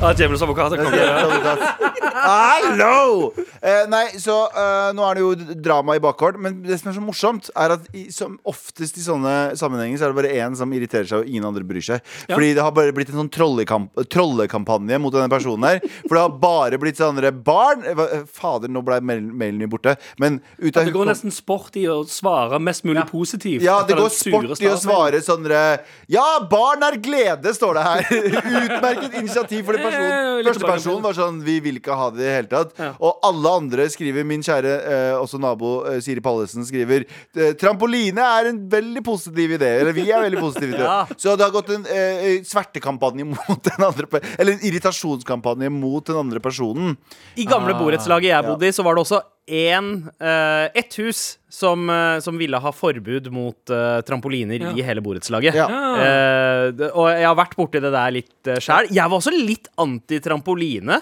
Speaker 4: Ah, Djevelens advokat er konge.
Speaker 3: Hallo! Eh, nei, så eh, nå er det jo drama i bakhånd, men det som er så morsomt, er at i, som oftest i sånne sammenhenger så er det bare én som irriterer seg, og ingen andre bryr seg. Fordi det har bare blitt en sånn trollekamp trollekampanje mot denne personen her. For det har bare blitt sånne der barn eh, hva- eh, Fader, nå ble mail- mailen min borte. Men ut av
Speaker 4: Det går nesten sport i å svare mest mulig positivt.
Speaker 3: ja, det
Speaker 4: etter den
Speaker 3: går
Speaker 4: sure
Speaker 3: sport i å
Speaker 4: starten.
Speaker 3: svare sånn eh, Ja, barn er glede, står det her. Utmerket initiativ for den
Speaker 4: Eh,
Speaker 3: personen.
Speaker 4: litt
Speaker 3: Første person var sånn Vi vil ikke ha det i det hele tatt. Og alle andre skriver Min kjære eh, også nabo eh, Siri Pallesen skriver eh, Trampoline er en veldig positiv idé. Eller vi er veldig positive til det.
Speaker 2: Ja.
Speaker 3: Så det har gått en eh, svertekampanje mot den andre pe- Eller en irritasjonskampanje mot den andre personen.
Speaker 2: I gamle
Speaker 3: Ah,
Speaker 2: borettslaget jeg bodde i, så var det også en, eh, ett hus som, eh, som ville ha forbud mot eh, trampoliner i hele borettslaget.
Speaker 3: Ja.
Speaker 2: Eh, det- og jeg har vært borti det der litt uh, sjæl. Jeg var også litt anti-trampoline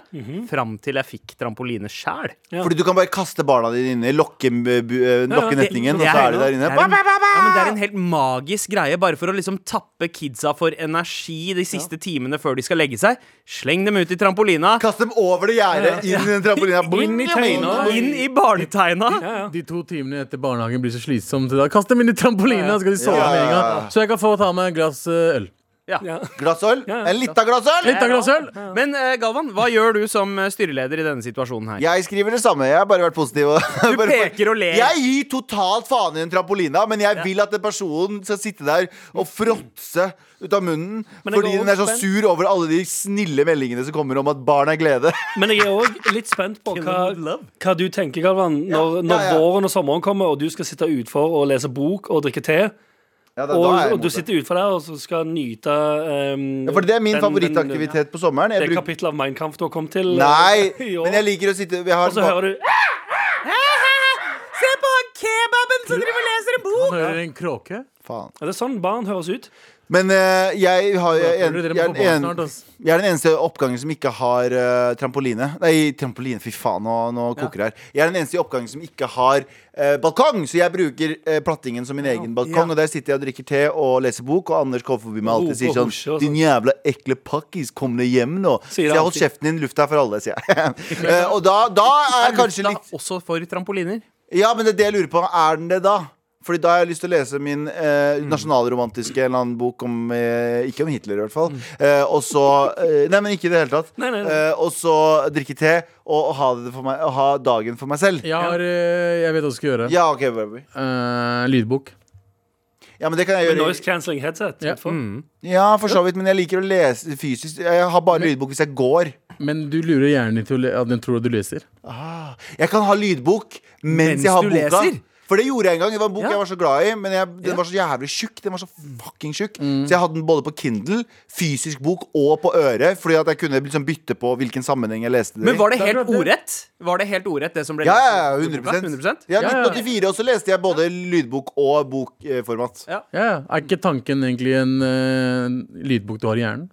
Speaker 2: fram til jeg fikk trampoline sjæl.
Speaker 4: Mhm. Ja.
Speaker 3: Fordi du kan bare kaste barna dine inni, lokke, eh, bu- eh, lokke
Speaker 4: ja, det-
Speaker 3: netningen, og
Speaker 2: Det
Speaker 3: så er de der inne.
Speaker 2: det er en, ja, men det er en helt magisk greie, bare for å liksom tappe kidsa for energi de siste timene før de skal legge seg. Sleng dem ut i trampolina.
Speaker 3: Kast dem over det gjerdet, inn i den trampolina.
Speaker 4: Inn i teina.
Speaker 2: Inn i barnetegna.
Speaker 5: De to timene etter barnehagen blir så slitsomme. til da. Kast dem inn i trampolina, så skal de sove
Speaker 3: Ja,
Speaker 5: med en
Speaker 3: ja, ja.
Speaker 5: gang. Så jeg kan få ta med et glass eh, øl.
Speaker 4: Ja.
Speaker 3: Glass øl?
Speaker 4: Ja.
Speaker 3: En lita glass øl?
Speaker 5: Litt av glass øl!
Speaker 2: Men eh, Galvan, hva gjør du som eh, styreleder i denne situasjonen her?
Speaker 3: Jeg skriver det samme. Jeg har bare vært positiv. og- bare-
Speaker 2: peker og ler.
Speaker 3: Jeg gir totalt faen i den trampolina, men jeg vil at den personen skal sitte der og fråtse ut av munnen
Speaker 4: Men jeg
Speaker 3: fordi
Speaker 4: går
Speaker 3: den er så
Speaker 4: spent.
Speaker 3: sur over alle de snille meldingene som kommer om at barn er glede.
Speaker 4: Men jeg er òg litt spent på
Speaker 2: with
Speaker 4: hva,
Speaker 2: love.
Speaker 4: hva du tenker, Galvan,
Speaker 3: Ja,
Speaker 4: når, når
Speaker 3: ja, ja.
Speaker 4: våren og sommeren kommer, og du skal sitte utfor og lese bok og drikke te.
Speaker 3: Ja, da- da er jeg
Speaker 4: Og,
Speaker 3: imot
Speaker 4: og du
Speaker 3: det.
Speaker 4: sitter utfor der og så skal nyte um,
Speaker 3: Ja, for det er min
Speaker 4: den- den-
Speaker 3: favorittaktivitet på sommeren. Jeg
Speaker 4: Det
Speaker 3: bruker
Speaker 4: kapittelet av Mein Kampf du har kommet til.
Speaker 3: Nei,
Speaker 4: eh, i år.
Speaker 3: men jeg liker å sitte jeg har
Speaker 4: Og så hører du
Speaker 2: Se på han kebaben som driver og leser en bok!
Speaker 5: Han hører en kråke.
Speaker 3: Faen.
Speaker 4: Er det sånn barn høres ut?
Speaker 3: Men eh, jeg, har, jeg,
Speaker 5: Tror du
Speaker 3: er
Speaker 5: dere
Speaker 3: en- jeg,
Speaker 5: må få barn
Speaker 3: er en-
Speaker 5: snart, ass?
Speaker 3: Jeg er den eneste oppgangen som ikke har eh, trampoline. Nei, trampoline, fy faen, nå, nå koker det her. Jeg er den eneste i oppgangen som ikke har eh, balkong, så jeg bruker eh, plattingen som min egen balkong. Og der sitter jeg og drikker te og leser bok, og Anders kommer forbi meg alltid og
Speaker 4: Roper
Speaker 3: sier
Speaker 4: og hosjer
Speaker 3: sånn
Speaker 4: og sånn.
Speaker 3: Din jævla ekle pakkis, kom deg hjem nå. Så
Speaker 4: Sier
Speaker 3: jeg
Speaker 4: han
Speaker 3: holdt kjeften din, lufta er for alle, sier jeg. Eh, og da, da er jeg kanskje
Speaker 2: Da,
Speaker 3: litt
Speaker 2: Også for trampoliner.
Speaker 3: Ja, men det er det jeg lurer på. Er den det da? Fordi da har jeg lyst til å lese min eh,
Speaker 4: Mm.
Speaker 3: nasjonalromantiske eller annen bok om eh, Ikke om Hitler, i hvert fall. Eh, og så eh, Nei, men ikke i det hele tatt.
Speaker 4: Mm. Nei, nei, nei.
Speaker 3: Eh, og så drikke te og, og ha, det for meg, og ha dagen for meg selv.
Speaker 5: Jeg, har, eh, jeg vet hva du skal gjøre.
Speaker 3: Ja, ok, baby.
Speaker 5: Eh, lydbok.
Speaker 3: Ja, men det kan jeg
Speaker 4: Med
Speaker 3: gjøre.
Speaker 4: noise cancelling headset.
Speaker 5: Ja. Mm.
Speaker 4: utenfor.
Speaker 3: Ja, for så vidt, men jeg liker å lese fysisk. Jeg har bare lydbok hvis jeg går.
Speaker 5: Men du lurer hjernen din til å le- at den tror at du leser.
Speaker 3: Ah, jeg kan ha lydbok
Speaker 2: Mens
Speaker 3: mens, jeg har
Speaker 2: du
Speaker 3: boka.
Speaker 2: leser?
Speaker 3: For det gjorde jeg en gang. Det var en bok
Speaker 2: Ja.
Speaker 3: jeg var så glad i, men jeg, den
Speaker 2: Ja. Mm.
Speaker 3: var så jævlig tjukk. Den var så fucking tjukk Så jeg hadde den både på Kindle, fysisk bok og på øret, fordi at jeg kunne liksom bytte på hvilken sammenheng jeg leste det
Speaker 2: Men
Speaker 3: i.
Speaker 2: var det
Speaker 5: Da
Speaker 2: helt
Speaker 5: prøvde jeg.
Speaker 2: ordrett? Var det helt ordrett, det som ble
Speaker 3: Ja, ja, ja,
Speaker 2: lest i
Speaker 3: 100,
Speaker 2: 100%?
Speaker 3: Ja,
Speaker 5: Ja, ja, ja.
Speaker 3: 1984 også leste jeg både lydbok og bokformat.
Speaker 2: Ja.
Speaker 5: Ja, ja. Er ikke tanken egentlig en eh, lydbok du har i hjernen?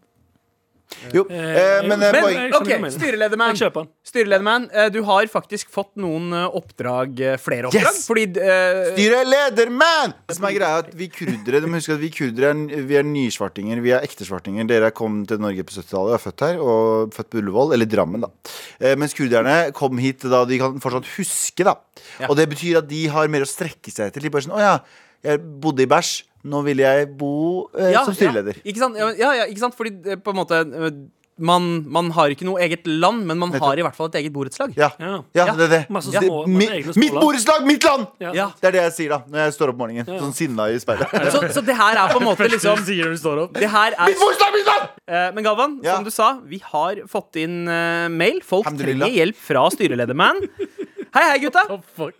Speaker 3: Jo, eh, men, eh,
Speaker 4: men-
Speaker 3: poeng-
Speaker 4: Jeg skjønner
Speaker 2: OK,
Speaker 4: hva du mener.
Speaker 2: styrelederman.
Speaker 4: Jeg kjøper den.
Speaker 2: Styrelederman, eh, du har faktisk fått noen eh, oppdrag, eh, flere oppdrag,
Speaker 3: Yes!
Speaker 2: fordi eh,
Speaker 3: Styret leder, man! Det som er greia er at Vi kurdere de husker at vi kurdere er, vi er nysvartinger. Vi er ekte svartinger. Dere kom til Norge på 70-tallet og er født her. Og født på Ullevål, eller Drammen, da. Eh, mens kurderne kom hit da de kan fortsatt huske, da. Og det betyr at de har mer å strekke seg etter. De bare sånn Å ja, jeg bodde i bæsj. Nå vil jeg bo eh, som styreleder.
Speaker 2: Ja, ikke sant? Ja, Ja, ja, ikke sant? Fordi eh, på en måte eh, man, man har ikke noe eget land, men man har i hvert fall et eget borettslag.
Speaker 3: Ja.
Speaker 4: Ja.
Speaker 3: Ja,
Speaker 2: Ja.
Speaker 3: det er det.
Speaker 4: Masse
Speaker 3: det
Speaker 4: små-
Speaker 3: mi,
Speaker 4: egne småland.
Speaker 3: mitt borettslag, mitt land!
Speaker 4: Ja.
Speaker 2: Ja.
Speaker 3: Det er det jeg sier da når jeg står opp om morgenen. Sånn sinna i speilet.
Speaker 2: Så, så det her er på en måte liksom
Speaker 5: sier når du står opp.
Speaker 2: Det her er
Speaker 3: Mitt borettslag, mitt land!
Speaker 2: Eh, Men Galvan,
Speaker 3: Ja.
Speaker 2: som du sa, vi har fått inn eh, mail. Folk
Speaker 3: Alhamdulillah.
Speaker 2: trenger hjelp fra styrelederman. Hei, hei, gutta.
Speaker 5: Oh, fuck.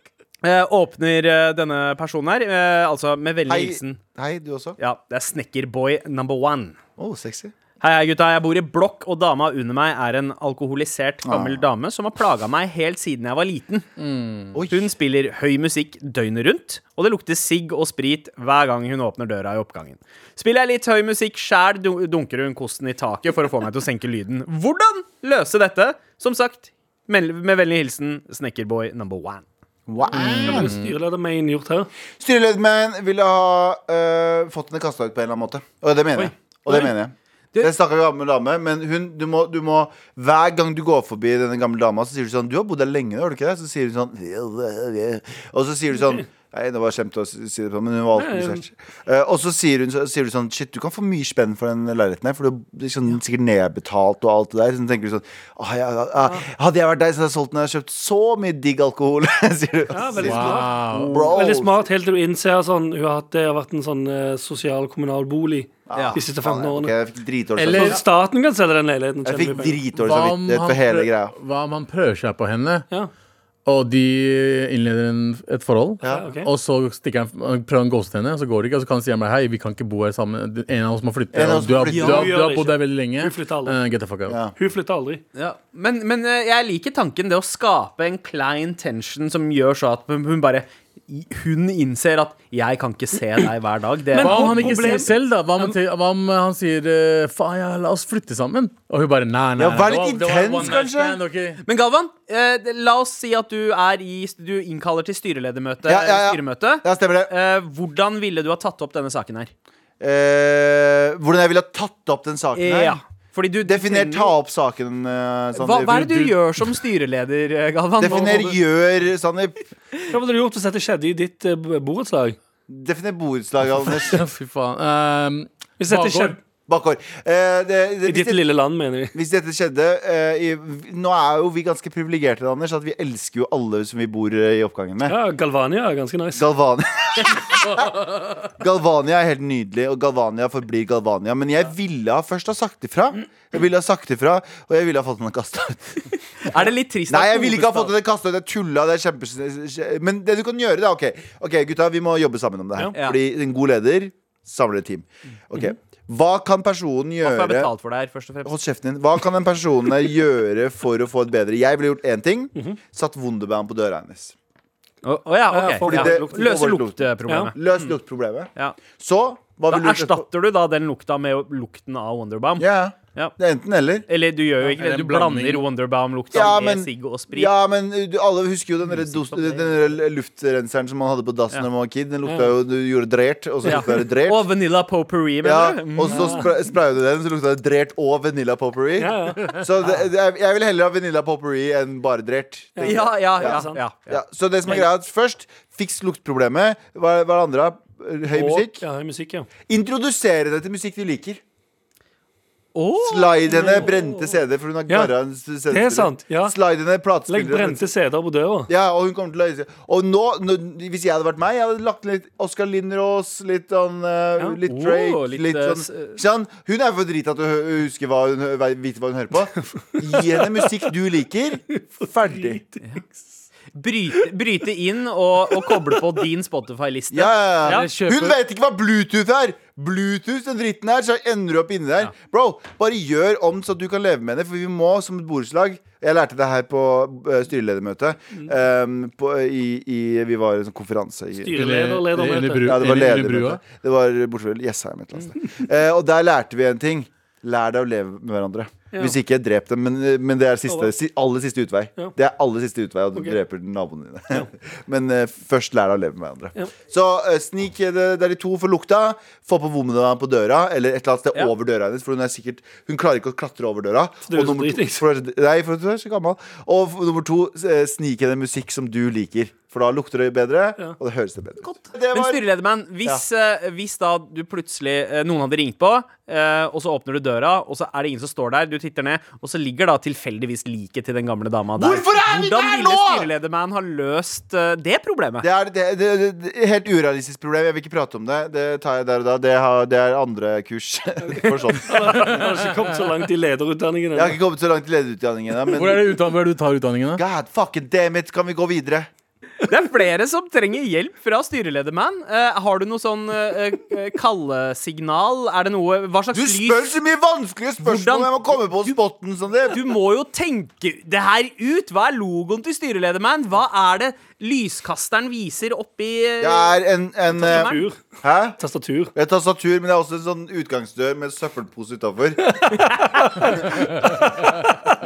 Speaker 2: Eh, åpner eh, denne personen her, eh, altså med vennlig
Speaker 3: Hei,
Speaker 2: hilsen
Speaker 3: hei, du også.
Speaker 2: Ja, det er snekkerboy number one.
Speaker 3: Å, sexy.
Speaker 2: Hei, hei, gutta. Jeg bor i blokk, og dama under meg er en alkoholisert gammel dame som har plaga meg helt siden jeg var liten.
Speaker 3: Oi.
Speaker 2: Hun spiller høy musikk døgnet rundt, og det lukter sigg og sprit hver gang hun åpner døra i oppgangen. Spiller jeg litt høy musikk sjæl, du- dunker hun kosten i taket for å få meg til å senke lyden. Hvordan løse dette? Som sagt, mel- med vennlig hilsen Snekkerboy number one.
Speaker 3: Wow.
Speaker 4: Hva har
Speaker 5: Mm.
Speaker 4: styreleder Main gjort her?
Speaker 3: Styrelederen ville ha øh, fått henne kasta ut på en eller annen måte. Og det mener jeg. Og det mener jeg. Det er en stakkars gammel dame, men hun, du, må, du må Hver gang du går forbi denne gamle dama, så sier du sånn 'Du har bodd her lenge, har du ikke det?' Så sier hun sånn Og så sier du sånn Nei, det var kjempe å si si det på, men hun var alkoholisert. Eh, og så sier, hun, så sier du sånn Shit, du kan få mye spenn for den leiligheten her, for du er sånn, sikkert nedbetalt og alt det der. Så tenker du sånn «Ah, ja, ja, ja. Hadde jeg vært deg, så hadde jeg solgt den, jeg har kjøpt så mye digg alkohol, sier du.
Speaker 4: Ja, veldig
Speaker 3: Sier
Speaker 4: smart.
Speaker 5: Wow.
Speaker 3: du, Bro.
Speaker 4: Veldig smart helt til du innser sånn Hun har hatt, det har vært en sånn eh, sosial kommunal bolig
Speaker 2: Ja.
Speaker 4: de siste
Speaker 3: Faen,
Speaker 4: 15
Speaker 3: jeg- ok,
Speaker 4: årene.
Speaker 3: Jeg fikk dritdårlig
Speaker 5: Eller-
Speaker 4: Så staten kan selge den leiligheten.
Speaker 3: Jeg
Speaker 4: tjener
Speaker 3: fikk
Speaker 4: mye penger.
Speaker 3: dritdårlig
Speaker 5: Hva om
Speaker 3: samvittighet
Speaker 5: han
Speaker 3: for hele
Speaker 5: prøv-
Speaker 3: greia.
Speaker 5: Hva om han prøver seg på henne,
Speaker 4: Ja.
Speaker 5: og de innleder en, et forhold?
Speaker 3: Ja.
Speaker 4: Ja, ok.
Speaker 5: Og så stikker han, prøver han å ghoste henne, og så går det ikke. Og så kan han si bare, hei, vi kan ikke bo her sammen. Den ene av oss må flytte.
Speaker 3: En av oss
Speaker 5: og Du har,
Speaker 3: må
Speaker 5: du
Speaker 3: flytte.
Speaker 5: har,
Speaker 4: Ja, vi
Speaker 5: du
Speaker 4: gjør
Speaker 5: har
Speaker 4: det
Speaker 5: bodd
Speaker 4: ikke.
Speaker 5: der veldig lenge.
Speaker 4: Vi flytter alle.
Speaker 5: Eh, get the fuck out.
Speaker 3: Ja.
Speaker 4: Hun flytter aldri.
Speaker 2: Men, men eh, jeg liker tanken, det å skape en klein tension som gjør så at hun hun bare Hun innser at 'jeg kan ikke se deg hver dag'. Det
Speaker 5: Hva om
Speaker 4: og
Speaker 5: han ikke
Speaker 4: problem-
Speaker 5: sier selv, da? Hva om, han sier- hva om eh, han siær eh, faen, ja, la oss flytte sammen? Og hun bare nei, nei.
Speaker 3: Ja, vær
Speaker 5: det
Speaker 3: litt
Speaker 5: var- det var
Speaker 3: intens,
Speaker 5: one night
Speaker 3: kanskje?
Speaker 5: stand, ok.
Speaker 2: Men Galvan, eh, det- la oss si at du er i Du innkaller til styreledermøte. eh,
Speaker 3: Ja, ja, ja.
Speaker 2: styremøte.
Speaker 3: Ja, stemmer det.
Speaker 2: Eh, hvordan ville du ha tatt opp denne saken her?
Speaker 3: Eh, hvordan jeg ville ha tatt opp den saken her?
Speaker 2: Eh, Ja, fordi du, du
Speaker 3: Definer
Speaker 2: trenger-
Speaker 3: ta opp saken, eh,
Speaker 2: hva,
Speaker 3: Sandeep.
Speaker 2: hva er det du gjør som styreleder, eh, Galvan? Nå må
Speaker 3: Definer
Speaker 2: du-
Speaker 3: gjør, Sandeep.
Speaker 4: Hva ville du gjort hvis dette skjedde i ditt eh, b- borettslag?
Speaker 3: Definer borettslag, Anders.
Speaker 5: Ja, Fy faen. Ehm,
Speaker 4: Hvis dette
Speaker 5: Bakgård.
Speaker 4: skjedde
Speaker 3: Bakgård. Eh, det,
Speaker 4: i
Speaker 3: det, hvis,
Speaker 4: ditt
Speaker 3: det,
Speaker 4: lille land, mener jeg.
Speaker 3: hvis dette skjedde eh, i, Nå er jo vi ganske privilegerte, Anders, at vi elsker jo alle som vi bor eh, i oppgangen med.
Speaker 4: Ja, Galvania er ganske nice.
Speaker 3: Galvania Galvania er helt nydelig, og Galvania forblir Galvania. Men jeg ville ha først ha sagt ifra. Jeg ville ha sagt ifra, og jeg ville ha fått henne kasta ut.
Speaker 2: Er det litt trist?
Speaker 3: Nei,
Speaker 2: at
Speaker 3: jeg ville ikke ha fått
Speaker 2: hovedstaden-
Speaker 3: henne kasta ut. Jeg tulla. Det er kjempe... Men det du kan gjøre, da OK, Ok, gutta, vi må jobbe sammen om det her.
Speaker 2: Ja.
Speaker 3: Fordi en god leder samler et team. Ok, Hva kan personen
Speaker 2: Hva får jeg
Speaker 3: gjøre
Speaker 2: betalt for det her, først og fremst?
Speaker 3: Hold kjeften din. Hva kan den personen her gjøre for å få et bedre Jeg ville gjort én ting.
Speaker 2: Mhm.
Speaker 3: Satt Wunderbaum på døra hennes.
Speaker 2: Å å ja,
Speaker 4: Ja,
Speaker 2: ok.
Speaker 4: for
Speaker 2: Ja.
Speaker 3: det-
Speaker 2: Løse
Speaker 3: overlukt.
Speaker 2: luktproblemet.
Speaker 3: Løs luktproblemet.
Speaker 2: Ja.
Speaker 3: Så Hva
Speaker 2: Mhm. Da
Speaker 3: vil du-
Speaker 2: erstatter du da den lukta med lukten av Wonderbaum.
Speaker 3: Ja,
Speaker 2: Ja.
Speaker 3: det er enten eller.
Speaker 2: Eller du gjør jo ikke det.
Speaker 5: eller
Speaker 2: Du
Speaker 5: en blanding.
Speaker 2: blander Wonderbaum-lukta
Speaker 3: Ja,
Speaker 2: med
Speaker 3: men-
Speaker 2: sigg og sprit.
Speaker 3: Ja, men eh, du, alle husker jo den der dos-
Speaker 2: opp det.
Speaker 3: den der luftrenseren som man hadde på dassen
Speaker 2: Ja.
Speaker 3: da man var kid. Den lukta jo Du gjorde drert, og så
Speaker 2: Ja.
Speaker 3: lukta det drert.
Speaker 2: Og Vanilla Potpourri,
Speaker 3: Ja,
Speaker 2: mener du? Mm.
Speaker 3: og så spra sprayet du den, så lukta det drert og vanilla potpourri.
Speaker 4: Ja, ja.
Speaker 3: Så det, det, er- jeg vil heller ha vanilla potpourri enn bare drert. tenker jeg.
Speaker 2: Ja, ja, ja.
Speaker 4: sant.
Speaker 2: ja, ja.
Speaker 3: Ja, så det som er greia, er at først fiks luktproblemet. Hva, hva er det andre? Eh, Høy
Speaker 4: Og-
Speaker 3: musikk.
Speaker 4: Ja, høy musikk, ja.
Speaker 3: Introdusere deg til musikk du liker.
Speaker 2: Åh!
Speaker 3: Slide henne brente CD, for hun har
Speaker 4: Ja,
Speaker 3: garra en CD-spiller.
Speaker 4: det er sant, ja.
Speaker 3: Slide henne
Speaker 4: Legg
Speaker 3: platespillere.
Speaker 4: brente CD-er på døra.
Speaker 3: Ja, og hun kommer til å løse Og nå, nå, hvis jeg hadde vært meg, jeg hadde lagt litt Oscar Lindros, litt sånn eh,
Speaker 4: Ja.
Speaker 3: Litt Drake,
Speaker 2: Oh, litt,
Speaker 3: litt,
Speaker 2: eh, s-
Speaker 3: sånn Ikke sant? Hun er for drita til å hø- huske hva hun, hø- vite hva hun hører på. Gi henne musikk du liker. Ferdig.
Speaker 2: Bryte, bryte inn og, og koble på din Spotify-liste.
Speaker 3: Ja, ja,
Speaker 2: Ja,
Speaker 3: ja.
Speaker 5: kjøper-
Speaker 3: Hun vet ikke hva Bluetooth er! Bluetooth, den dritten her, så ender du opp inni der. Bro, bare gjør om så du kan leve med det, for vi må som et borettslag Jeg lærte det her på eh, styreledermøte. eh, på, i, i, vi var i en sånn konferanse. I,
Speaker 4: Styreleder,
Speaker 5: Inni
Speaker 4: ledermøte.
Speaker 5: bru-
Speaker 3: Ja, det var
Speaker 5: inni- inni
Speaker 3: ledermøte. Det var borte ved Jessheim et eller annet sted. Eh, og der lærte vi en ting. Lær deg å leve med hverandre. Hvis ikke, drep dem. Men, eh, men det er siste,
Speaker 4: Alle.
Speaker 3: si, aller siste utvei.
Speaker 4: Ja.
Speaker 3: Det er aller siste utvei at du dreper naboene dine. men eh, først lær deg å leve med hverandre. Så eh, snik eh, det der i to for lukta. Få på vommene på døra, eller et eller annet sted
Speaker 2: Ja.
Speaker 3: over døra hennes. For hun er sikkert Hun klarer ikke å klatre over døra.
Speaker 4: du er
Speaker 3: Og
Speaker 4: så
Speaker 3: nummer to,
Speaker 4: dritings.
Speaker 3: for, nei, for du er så gammel. Og f- nummer to, eh, snik henne musikk som du liker. For da lukter det bedre, og det høres det bedre ut. Det
Speaker 2: Men
Speaker 3: var-
Speaker 2: styreledermann, hvis, eh, hvis da du plutselig eh, Noen hadde ringt på, eh, og så åpner du døra, og så er det ingen som står der, du titter ned, og så ligger da tilfeldigvis liket til den gamle dama der.
Speaker 3: Hvorfor er vi
Speaker 2: Hvordan
Speaker 3: der
Speaker 2: ville
Speaker 3: nå?
Speaker 2: styreledermann ha løst eh, det problemet?
Speaker 3: Det er det, det, det, det er et helt urealistisk problem. Jeg vil ikke prate om det. Det tar jeg der og da. Det, har, det er andre kurs. For sånn. Jeg
Speaker 4: Jeg har ikke kommet så langt i lederutdanningen
Speaker 3: har
Speaker 4: ennå.
Speaker 3: ikke kommet så langt i lederutdanningen ennå,
Speaker 5: Hvor er
Speaker 3: men
Speaker 5: det utdan hvor er det du tar utdanningen, da?
Speaker 3: God fucking damn it, kan vi gå videre?
Speaker 2: Det er flere som trenger hjelp fra styreledermann. Eh, har du noe sånn eh, eh, kallesignal? Er det noe Hva slags
Speaker 3: Du spør så mye vanskelige spørsmål!
Speaker 2: Hvordan-
Speaker 3: Jeg må komme på spotten som det.
Speaker 2: Du må jo tenke det her ut! Hva er logoen til styreledermann? Hva er det lyskasteren viser eh, oppi
Speaker 3: Det er en, en eh,
Speaker 4: Tastatur.
Speaker 3: Hæ?
Speaker 4: Tastatur.
Speaker 3: Det er tastatur, men det er også en sånn utgangsdør med søppelpose utafor.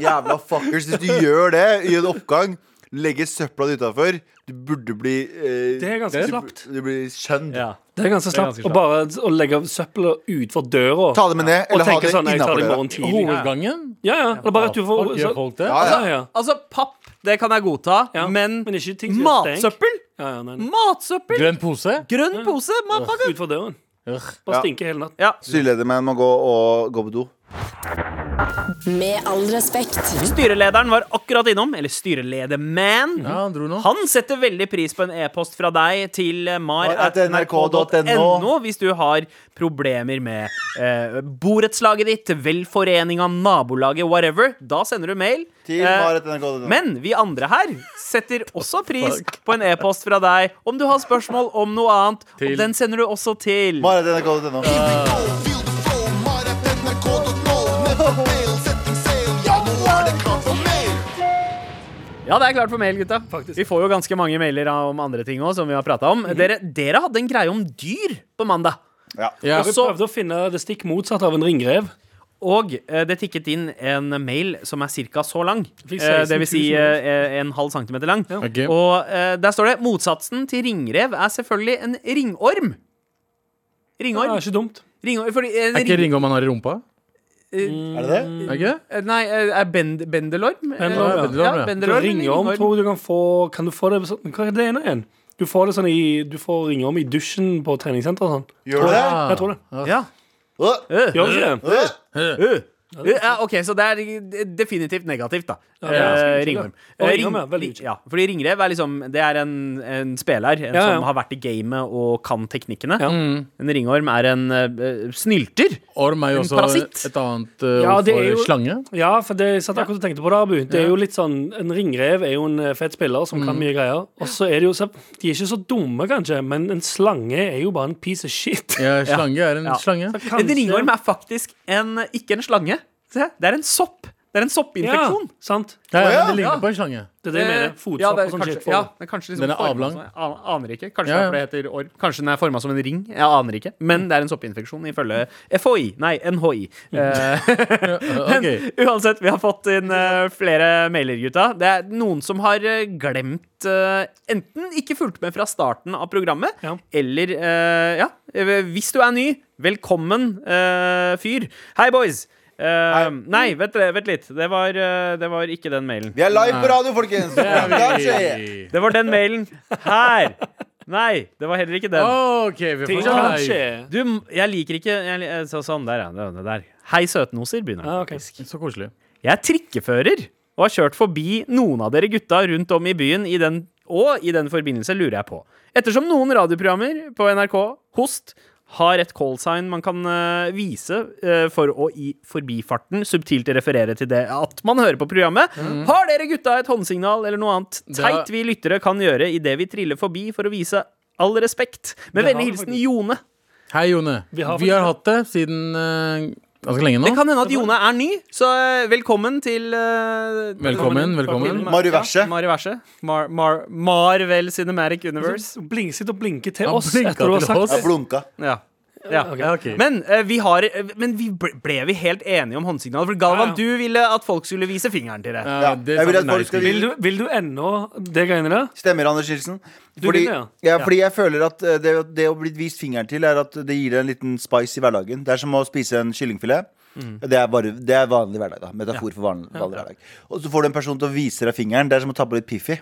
Speaker 3: Jævla fuckers. Hvis du gjør det i en oppgang, legger søpla di utafor, du burde bli eh,
Speaker 4: Det er ganske
Speaker 3: du-
Speaker 4: slapt.
Speaker 3: Du blir skjønt.
Speaker 2: ja.
Speaker 4: Det er ganske slapt å bare å legge søpla utfor døra.
Speaker 3: Ta det med ned,
Speaker 4: og
Speaker 3: eller ha
Speaker 4: tenke
Speaker 3: det
Speaker 4: sånn Jeg tar
Speaker 3: innafor
Speaker 4: det i
Speaker 3: døra.
Speaker 4: morgen tidlig.
Speaker 5: Hovedgangen?
Speaker 4: Ja, ja. Eller bare rett utenfor.
Speaker 5: Folk gjør
Speaker 4: så-
Speaker 5: folk det?
Speaker 3: Ja,
Speaker 4: Ja, ja.
Speaker 2: Altså, papp, det kan jeg godta,
Speaker 4: Ja,
Speaker 2: men,
Speaker 4: men ikke ting som gjør stenk.
Speaker 2: matsøppel?
Speaker 4: Ja, ja, nei, nei.
Speaker 2: Matsøppel!
Speaker 5: Grønn pose?
Speaker 2: Grønn pose? motherfucker!
Speaker 4: Utfor døren.
Speaker 5: Ugh.
Speaker 4: Bare stinke hele natten.
Speaker 2: Ja.
Speaker 3: Styreledermenn må gå og gå på do.
Speaker 1: Med all respekt.
Speaker 2: Styrelederen var akkurat innom, eller styrelederman.
Speaker 5: Ja, han dro nå.
Speaker 2: Han setter veldig pris på en e-post fra deg til eh, mar.nrk.no
Speaker 3: mar@nrk.no
Speaker 2: hvis du har problemer med eh, borettslaget ditt, velforeninga, nabolaget, whatever. Da sender du mail.
Speaker 3: Til
Speaker 2: Eh,
Speaker 3: maret.nrk.no.
Speaker 2: men vi andre her setter også pris på en e-post fra deg om du har spørsmål om noe annet.
Speaker 5: Til-
Speaker 2: Og den sender du også til
Speaker 3: Maret.nrk.no.
Speaker 2: Ja, det er klart for mail, gutta. Vi får jo ganske mange mailer av- om andre ting òg, som vi har prata om. dere, dere hadde en greie om dyr på mandag.
Speaker 3: Ja.
Speaker 5: Ja.
Speaker 4: Vi prøvde å finne det stikk motsatte av en ringrev.
Speaker 2: Og eh, det tikket inn en mail som er ca. så lang.
Speaker 4: fikk
Speaker 2: Eh, det vil
Speaker 4: 16 000
Speaker 2: si eh, en halv centimeter lang.
Speaker 5: Ok.
Speaker 2: Og eh, der står det motsatsen til ringrev er selvfølgelig en ringorm.
Speaker 4: Ja,
Speaker 2: Ringorm.
Speaker 4: det er ikke dumt.
Speaker 2: ringorm fordi en
Speaker 5: Er ikke
Speaker 2: ring-
Speaker 5: ringorm han har i rumpa?
Speaker 3: Er det
Speaker 4: Mm.
Speaker 3: det?
Speaker 5: Er ikke det?
Speaker 2: eh, Nei, eh, er bend, bendelorm? Eh,
Speaker 4: Bendelorm, ja.
Speaker 5: Bendelorm, ja.
Speaker 2: bendelorm,
Speaker 4: Ringorm tror jeg du kan få Kan du få det sånn Hva er det ene igjen? Du får det sånn i Du får ringorm i dusjen på treningssenter og sånn.
Speaker 3: Gjør du det?
Speaker 5: Ah.
Speaker 4: Jeg tror det.
Speaker 2: Ja.
Speaker 3: Åh,
Speaker 4: Gjør du ikke det?
Speaker 3: åh.
Speaker 2: Uh, ja, ok, Så det er eh, definitivt negativt, da.
Speaker 4: det er ganske
Speaker 2: Eh,
Speaker 4: utydelig.
Speaker 2: ringorm.
Speaker 4: Og
Speaker 2: Eh,
Speaker 4: ringorm, ja, veldig
Speaker 2: ring-
Speaker 4: utydelig.
Speaker 2: ja, fordi ringrev er liksom Det er en, en spiller en
Speaker 4: Ja, ja.
Speaker 2: som har vært i gamet og kan teknikkene.
Speaker 4: Ja.
Speaker 5: Mm.
Speaker 2: En ringorm er en eh, snylter.
Speaker 5: Orm er jo
Speaker 2: En
Speaker 5: også
Speaker 2: parasitt.
Speaker 5: et annet uh,
Speaker 4: Ja,
Speaker 5: ord
Speaker 4: det
Speaker 5: for
Speaker 4: er jo-
Speaker 5: slange.
Speaker 4: Ja, for det jeg satt akkurat og tenkte på det, Abu. Det er jo litt sånn, En ringrev er jo en eh, fet spiller som kan mye greier. Og så er det jo så, De er ikke så dumme, kanskje, men en slange er jo bare en piece of shit.
Speaker 5: Ja, slange er en
Speaker 2: Ja.
Speaker 5: slange.
Speaker 4: Kanskje-
Speaker 2: En ringorm er faktisk en, ikke en slange. Se, det er en sopp. Det Det er en soppinfeksjon.
Speaker 4: Ja, sant.
Speaker 5: Ja, ja,
Speaker 3: Å, ja,
Speaker 5: men det ligner
Speaker 2: ja.
Speaker 5: på en slange.
Speaker 4: Det er det jeg mener.
Speaker 2: Eh, ja,
Speaker 4: Fotsopp
Speaker 2: det
Speaker 4: og
Speaker 2: er
Speaker 4: sånn
Speaker 2: kanskje,
Speaker 4: shit.
Speaker 2: ja, det er kanskje liksom
Speaker 5: Den er
Speaker 2: formet
Speaker 5: avlang.
Speaker 2: sånn. Jeg an- aner ikke. Kanskje
Speaker 5: Ja, ja.
Speaker 2: derfor det heter orb. Kanskje den er forma som en ring. Jeg aner ikke. Men det er en soppinfeksjon ifølge FHI. Nei, NHI.
Speaker 4: Mm.
Speaker 2: Eh,
Speaker 5: Ok.
Speaker 2: Men uansett, vi har fått inn eh, flere mailer, gutta. Det er noen som har eh, glemt eh, Enten ikke fulgt med fra starten av programmet,
Speaker 4: Ja.
Speaker 2: eller eh, Ja, eh, hvis du er ny, velkommen, eh, fyr. Hei, boys. Eh, nei, vent, vent litt. Det var, eh, det var ikke den mailen.
Speaker 3: Vi er live på radio, folkens! Der skjer det.
Speaker 2: Det var den mailen her. Nei, det var heller ikke den.
Speaker 5: OK, vi
Speaker 4: Ting
Speaker 5: får
Speaker 4: kan
Speaker 5: Nei.
Speaker 4: skje.
Speaker 2: Du, jeg liker ikke jeg, li- så, Sånn, der, ja. Det, det der. Hei, søtnoser, begynner den
Speaker 4: Ja, ok.
Speaker 2: faktisk.
Speaker 5: Så koselig.
Speaker 2: Jeg er trikkefører og har kjørt forbi noen av dere gutta rundt om i byen, i den, og i den forbindelse lurer jeg på Ettersom noen radioprogrammer på NRK, Host, har et callsign man kan eh, vise eh, for å i forbifarten subtilt referere til det at man hører på programmet, har dere gutta et håndsignal eller noe annet
Speaker 5: Det har-
Speaker 2: teit vi lyttere kan gjøre idet vi triller forbi for å vise all respekt? Med
Speaker 4: Det har
Speaker 2: vennlig
Speaker 4: vi
Speaker 2: hilsen
Speaker 4: faktisk.
Speaker 2: Jone.
Speaker 5: Hei, Jone.
Speaker 4: Vi
Speaker 5: Vi
Speaker 4: har
Speaker 5: har,
Speaker 4: faktisk-
Speaker 5: hatt det siden eh, ganske lenge nå.
Speaker 2: Det kan hende at Jone er ny, så eh, velkommen til eh,
Speaker 5: Velkommen, velkommen.
Speaker 2: Til-
Speaker 3: Mariverse.
Speaker 2: Ja, Mariverse. Mar Mar Marvel Cinematic Universe.
Speaker 4: Så blink- Sitt og blinke til
Speaker 5: Han
Speaker 4: oss
Speaker 5: blinka
Speaker 4: etter du har
Speaker 5: til oss.
Speaker 4: sagt
Speaker 3: Jeg
Speaker 4: det.
Speaker 3: blunka.
Speaker 2: Ja. Ja.
Speaker 4: Ok.
Speaker 5: ok.
Speaker 2: Men, eh, vi har, eh, men vi ble, ble vi helt enige om håndsignalet? For Galvan,
Speaker 4: Ja, ja.
Speaker 2: du ville at folk skulle vise fingeren til deg.
Speaker 5: Ja, det
Speaker 3: Jeg vil
Speaker 5: sa
Speaker 3: at folk skal
Speaker 5: Nice.
Speaker 4: Vil du, vil du ennå det greiene der?
Speaker 3: Stemmer, Anders Nilsen.
Speaker 4: Du
Speaker 3: Fordi,
Speaker 4: vil det,
Speaker 3: ja, fordi jeg føler at eh, det, det å bli vist fingeren til, er at det gir deg en liten spice i hverdagen. Det er som å spise en kyllingfilet.
Speaker 5: Mm.
Speaker 3: Det, er bare, det er vanlig hverdag. da Metafor for vanlig, vanlig hverdag. Og så får du en person til å vise deg fingeren. Det er som å ta på litt Piffi.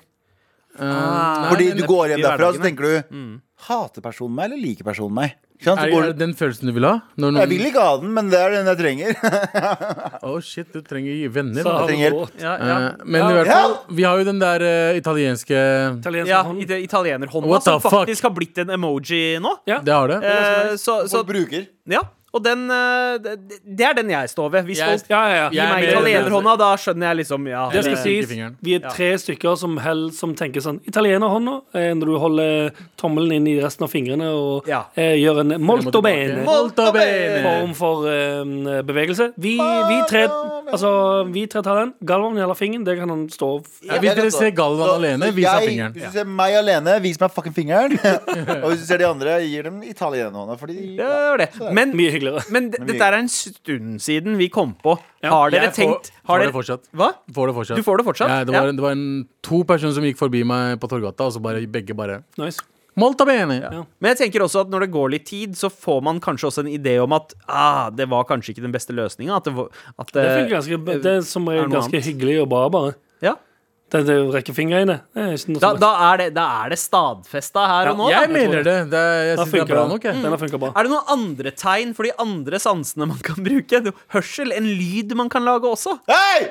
Speaker 4: Ah.
Speaker 5: Eh,
Speaker 3: Fordi
Speaker 5: nei,
Speaker 3: du
Speaker 5: men- mm.
Speaker 3: går hjem
Speaker 2: i
Speaker 3: derfra,
Speaker 2: hverdagen,
Speaker 3: og så tenker du Hater personen meg, eller liker personen meg? Ikke sant? Så
Speaker 5: er,
Speaker 3: går
Speaker 5: er det
Speaker 3: du,
Speaker 5: den følelsen du vil ha? Når noen,
Speaker 3: jeg vil ikke ha den, men det er den jeg trenger.
Speaker 5: Å, shit, du trenger jo venner.
Speaker 4: Så
Speaker 5: da.
Speaker 4: har
Speaker 3: trenger
Speaker 4: vi
Speaker 3: hjelp.
Speaker 4: råd.
Speaker 2: Ja, ja.
Speaker 5: Eh, men i hvert fall, vi har jo den der eh, italienske
Speaker 4: Italiensk
Speaker 2: ja
Speaker 4: hånd.
Speaker 2: i det italienerhånda,
Speaker 5: What the
Speaker 2: som faktisk
Speaker 5: fuck?
Speaker 2: har blitt en emoji nå.
Speaker 4: Ja.
Speaker 5: Det har det.
Speaker 2: Eh, så,
Speaker 5: Altså,
Speaker 2: så,
Speaker 3: Folk bruker.
Speaker 2: ja. Og den eh, det, det er den jeg står ved. Hvis
Speaker 5: Jeg-
Speaker 2: folk
Speaker 4: Ja, ja, ja.
Speaker 5: Jeg
Speaker 2: gir
Speaker 5: er
Speaker 2: meg
Speaker 5: mer-
Speaker 2: italienerhånda, da skjønner jeg liksom ja,
Speaker 4: Det
Speaker 5: Eller
Speaker 4: skal
Speaker 2: eh,
Speaker 5: stikke
Speaker 4: sies,
Speaker 5: fingeren.
Speaker 4: vi er tre stykker som, held, som tenker sånn Italienerhånda, eh, når du holder tommelen inn i resten av fingrene og
Speaker 2: Ja.
Speaker 4: eh, gjør en molto
Speaker 5: tilbake.
Speaker 4: bene
Speaker 5: Molto
Speaker 2: bene.
Speaker 4: form for eh, bevegelse. Vi, vi tre Altså, vi tre tar den. Galvan gjelder fingeren, det kan han stå f-
Speaker 5: Ja, hvis dere ser Galvan alene, vis ham
Speaker 3: jeg-
Speaker 5: fingeren.
Speaker 3: Hvis du ser meg alene, vis meg fucking fingeren. og hvis du ser de andre, gir dem italienerhånda. Fordi
Speaker 2: det var det. Men,
Speaker 5: Sånn.
Speaker 4: mye hyggeligere.
Speaker 2: men d- dette er en stund siden vi kom på. Har dere
Speaker 5: Jeg får-
Speaker 2: tenkt har
Speaker 5: får
Speaker 2: dere,
Speaker 5: det fortsatt.
Speaker 2: Hva?
Speaker 5: Får det fortsatt.
Speaker 2: Du får det fortsatt?
Speaker 5: Ja, det var,
Speaker 2: Ja.
Speaker 5: det var en, to personer som gikk forbi meg på Torgata, og så bare begge bare
Speaker 4: Nice.
Speaker 5: Molta bene!
Speaker 4: Ja.
Speaker 2: Men jeg tenker også at når det går litt tid, så får man kanskje også en idé om at ah, det var kanskje ikke den beste løsninga. At det, var- at
Speaker 4: Det,
Speaker 2: det-
Speaker 4: funker ganske, det er som
Speaker 2: Eh, er
Speaker 4: er
Speaker 2: noe
Speaker 4: ganske
Speaker 2: annet.
Speaker 4: hyggelig og bra, bare.
Speaker 2: ja.
Speaker 4: Det, det å rekke fingrene. Det er ikke noe
Speaker 2: da,
Speaker 4: som-
Speaker 2: da, er det, da er det stadfesta her og nå.
Speaker 5: Jeg
Speaker 2: da.
Speaker 5: mener det. det er, jeg
Speaker 4: Da
Speaker 5: synes det er
Speaker 4: funker Mm.
Speaker 5: bra
Speaker 4: den.
Speaker 5: nok, jeg.
Speaker 4: Den har funka bra.
Speaker 2: Er det noen andre tegn for de andre sansene man kan bruke? Det er jo Hørsel? En lyd man kan lage også?
Speaker 3: Hei!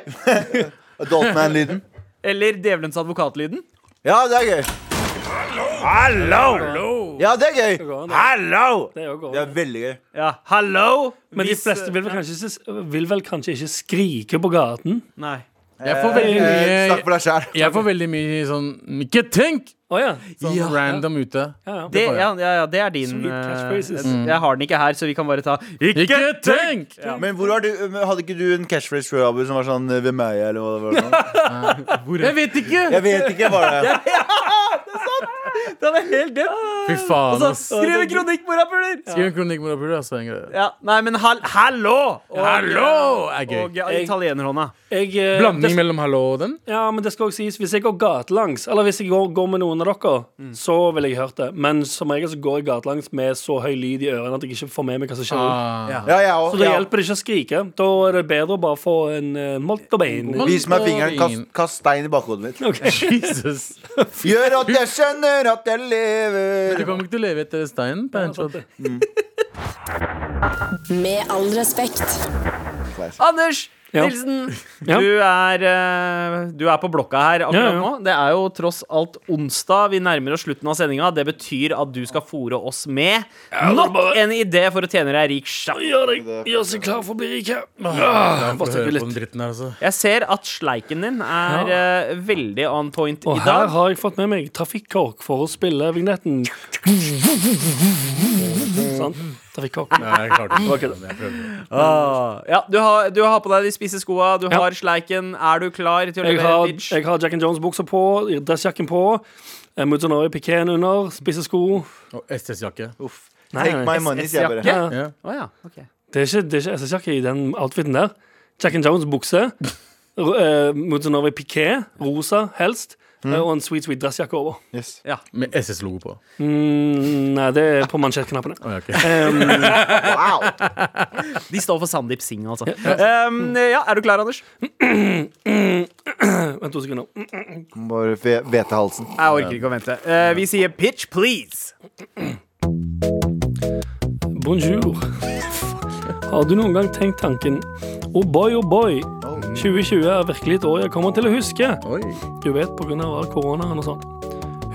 Speaker 3: Adult man-lyden.
Speaker 2: Eller Djevelens advokatlyden?
Speaker 3: Ja, det er gøy. Hallo! Ja, det er gøy. Eh,
Speaker 2: Hallo!
Speaker 4: Det er jo godt. eh,
Speaker 3: Det er veldig gøy.
Speaker 2: Ja, hallo!
Speaker 4: Men de
Speaker 2: Hvis-
Speaker 4: fleste vil vel, kanskje ikke, vil vel kanskje ikke skrike på gaten?
Speaker 2: eh, Nei.
Speaker 5: Jeg får veldig mye
Speaker 3: Eh, snakk for deg sjæl.
Speaker 5: Jeg får veldig mye sånn Ikke tenk!
Speaker 4: Å ja.
Speaker 5: Sånn
Speaker 2: Ja.
Speaker 5: random ute.
Speaker 4: Ja, ja.
Speaker 2: Det,
Speaker 5: får jeg.
Speaker 2: ja, ja, ja, det er din
Speaker 4: Sweet catchphrases.
Speaker 2: eh, Jeg har den ikke her, så vi kan bare ta
Speaker 5: Ikke tenk!
Speaker 3: Men hvor var du, hadde ikke du en catchphrase tror jeg, Abu, som var sånn eh, Hvem er jeg, eller hva det var? for noe?
Speaker 5: Jeg vet ikke!
Speaker 3: Jeg vet ikke hva det er.
Speaker 2: Den er helt død!
Speaker 5: Fy faen,
Speaker 2: Så
Speaker 5: ass.
Speaker 2: skriv en kronikk, morapuler!
Speaker 5: Skriv en kronikk med Robert, altså. En greie.
Speaker 2: Ja, nei, men hal hallo! Og,
Speaker 5: Hallo! er gøy.
Speaker 2: Og italienerhånda.
Speaker 4: Jeg, eh,
Speaker 5: Blanding
Speaker 4: det,
Speaker 5: mellom hallo og den?
Speaker 4: ja, men det skal også sies, hvis jeg går gatelangs, eller hvis jeg går, går med noen av dere, så ville jeg hørt det. Men som regel så går jeg gatelangs med så høy lyd i ørene at jeg ikke får med meg hva som skjer.
Speaker 5: Ah.
Speaker 2: Ja.
Speaker 3: Ja, jeg
Speaker 4: Så
Speaker 3: òg.
Speaker 4: da
Speaker 3: Ja.
Speaker 4: hjelper det ikke å skrike. Da er det bedre å bare få en uh, moltobein.
Speaker 5: God-
Speaker 3: Vis meg fingeren. Kast, kast stein i bakhodet mitt.
Speaker 5: Jesus.
Speaker 3: Gjør at jeg skjønner at jeg
Speaker 5: Du
Speaker 3: lever.
Speaker 5: kommer ikke til å leve etter steinen.
Speaker 4: altså,
Speaker 5: Pancho.
Speaker 4: Sånn
Speaker 1: Med all respekt.
Speaker 2: Anders
Speaker 4: Ja.
Speaker 2: Nilsen,
Speaker 4: Ja.
Speaker 2: du, er, eh, du er på blokka her akkurat
Speaker 4: Ja, ja.
Speaker 2: nå. Det er jo tross alt onsdag. Vi nærmer oss slutten av sendinga. Det betyr at du skal fòre oss med
Speaker 4: det er
Speaker 2: nok
Speaker 4: bare-
Speaker 2: en idé for å tjene deg rik sjakk.
Speaker 4: Gjør deg gjør seg klar for å bli rik her.
Speaker 5: Ja,
Speaker 4: Ah,
Speaker 5: får
Speaker 4: bare
Speaker 5: høre
Speaker 4: tenke
Speaker 5: på den
Speaker 4: litt.
Speaker 5: dritten her, altså.
Speaker 2: Jeg ser at sleiken din er eh, veldig on point
Speaker 4: Og
Speaker 2: i
Speaker 4: her
Speaker 2: dag.
Speaker 4: har jeg fått med meg trafikkork for å spille vignetten. sant? Trafikkokk.
Speaker 5: Nei, jeg klarte ikke.
Speaker 4: Ok, da.
Speaker 5: Jeg prøvde.
Speaker 2: Ah, ja, du har, du har på deg de spisse skoa, du
Speaker 4: Ja.
Speaker 2: har sleiken. Er du klar til å
Speaker 4: Jeg
Speaker 2: levere
Speaker 4: har,
Speaker 2: pitch?
Speaker 4: jeg har Jack and Jones-buksa på, dressjakken på, eh, Muzunori pikeen under, spisse sko.
Speaker 5: Og SS-jakke.
Speaker 3: Uff.
Speaker 4: Nei,
Speaker 3: Take
Speaker 4: nei.
Speaker 3: my money, sier jeg bare.
Speaker 4: Ja, ja.
Speaker 5: Ja.
Speaker 2: Å ja, ok.
Speaker 4: Eh, Det er ikke, det er ikke SS-jakke i den outfiten der. Jack and Jones-bukse, uh, Muzunori piké, rosa helst,
Speaker 2: Mm.
Speaker 4: eh, og en sweet, sweet dressjakke over.
Speaker 3: Yes.
Speaker 5: Med SS-logo på.
Speaker 4: Mm, nei, det er på mansjettknappene.
Speaker 5: Å, ja, ok.
Speaker 3: Wow.
Speaker 2: De står for Sandeep Singh, altså. Um, ja, er du klar, Anders?
Speaker 4: Vent to sekunder. Mm.
Speaker 3: Bare ve- hvete halsen.
Speaker 2: Jeg orker ikke å vente. Eh, vi sier pitch, please.
Speaker 4: Bonjour. Har du noen gang tenkt tanken Oh boy, oh boy. 2020 er virkelig et år jeg kommer til å huske.
Speaker 5: Oi.
Speaker 4: Du vet, pga. all koronaen og sånn.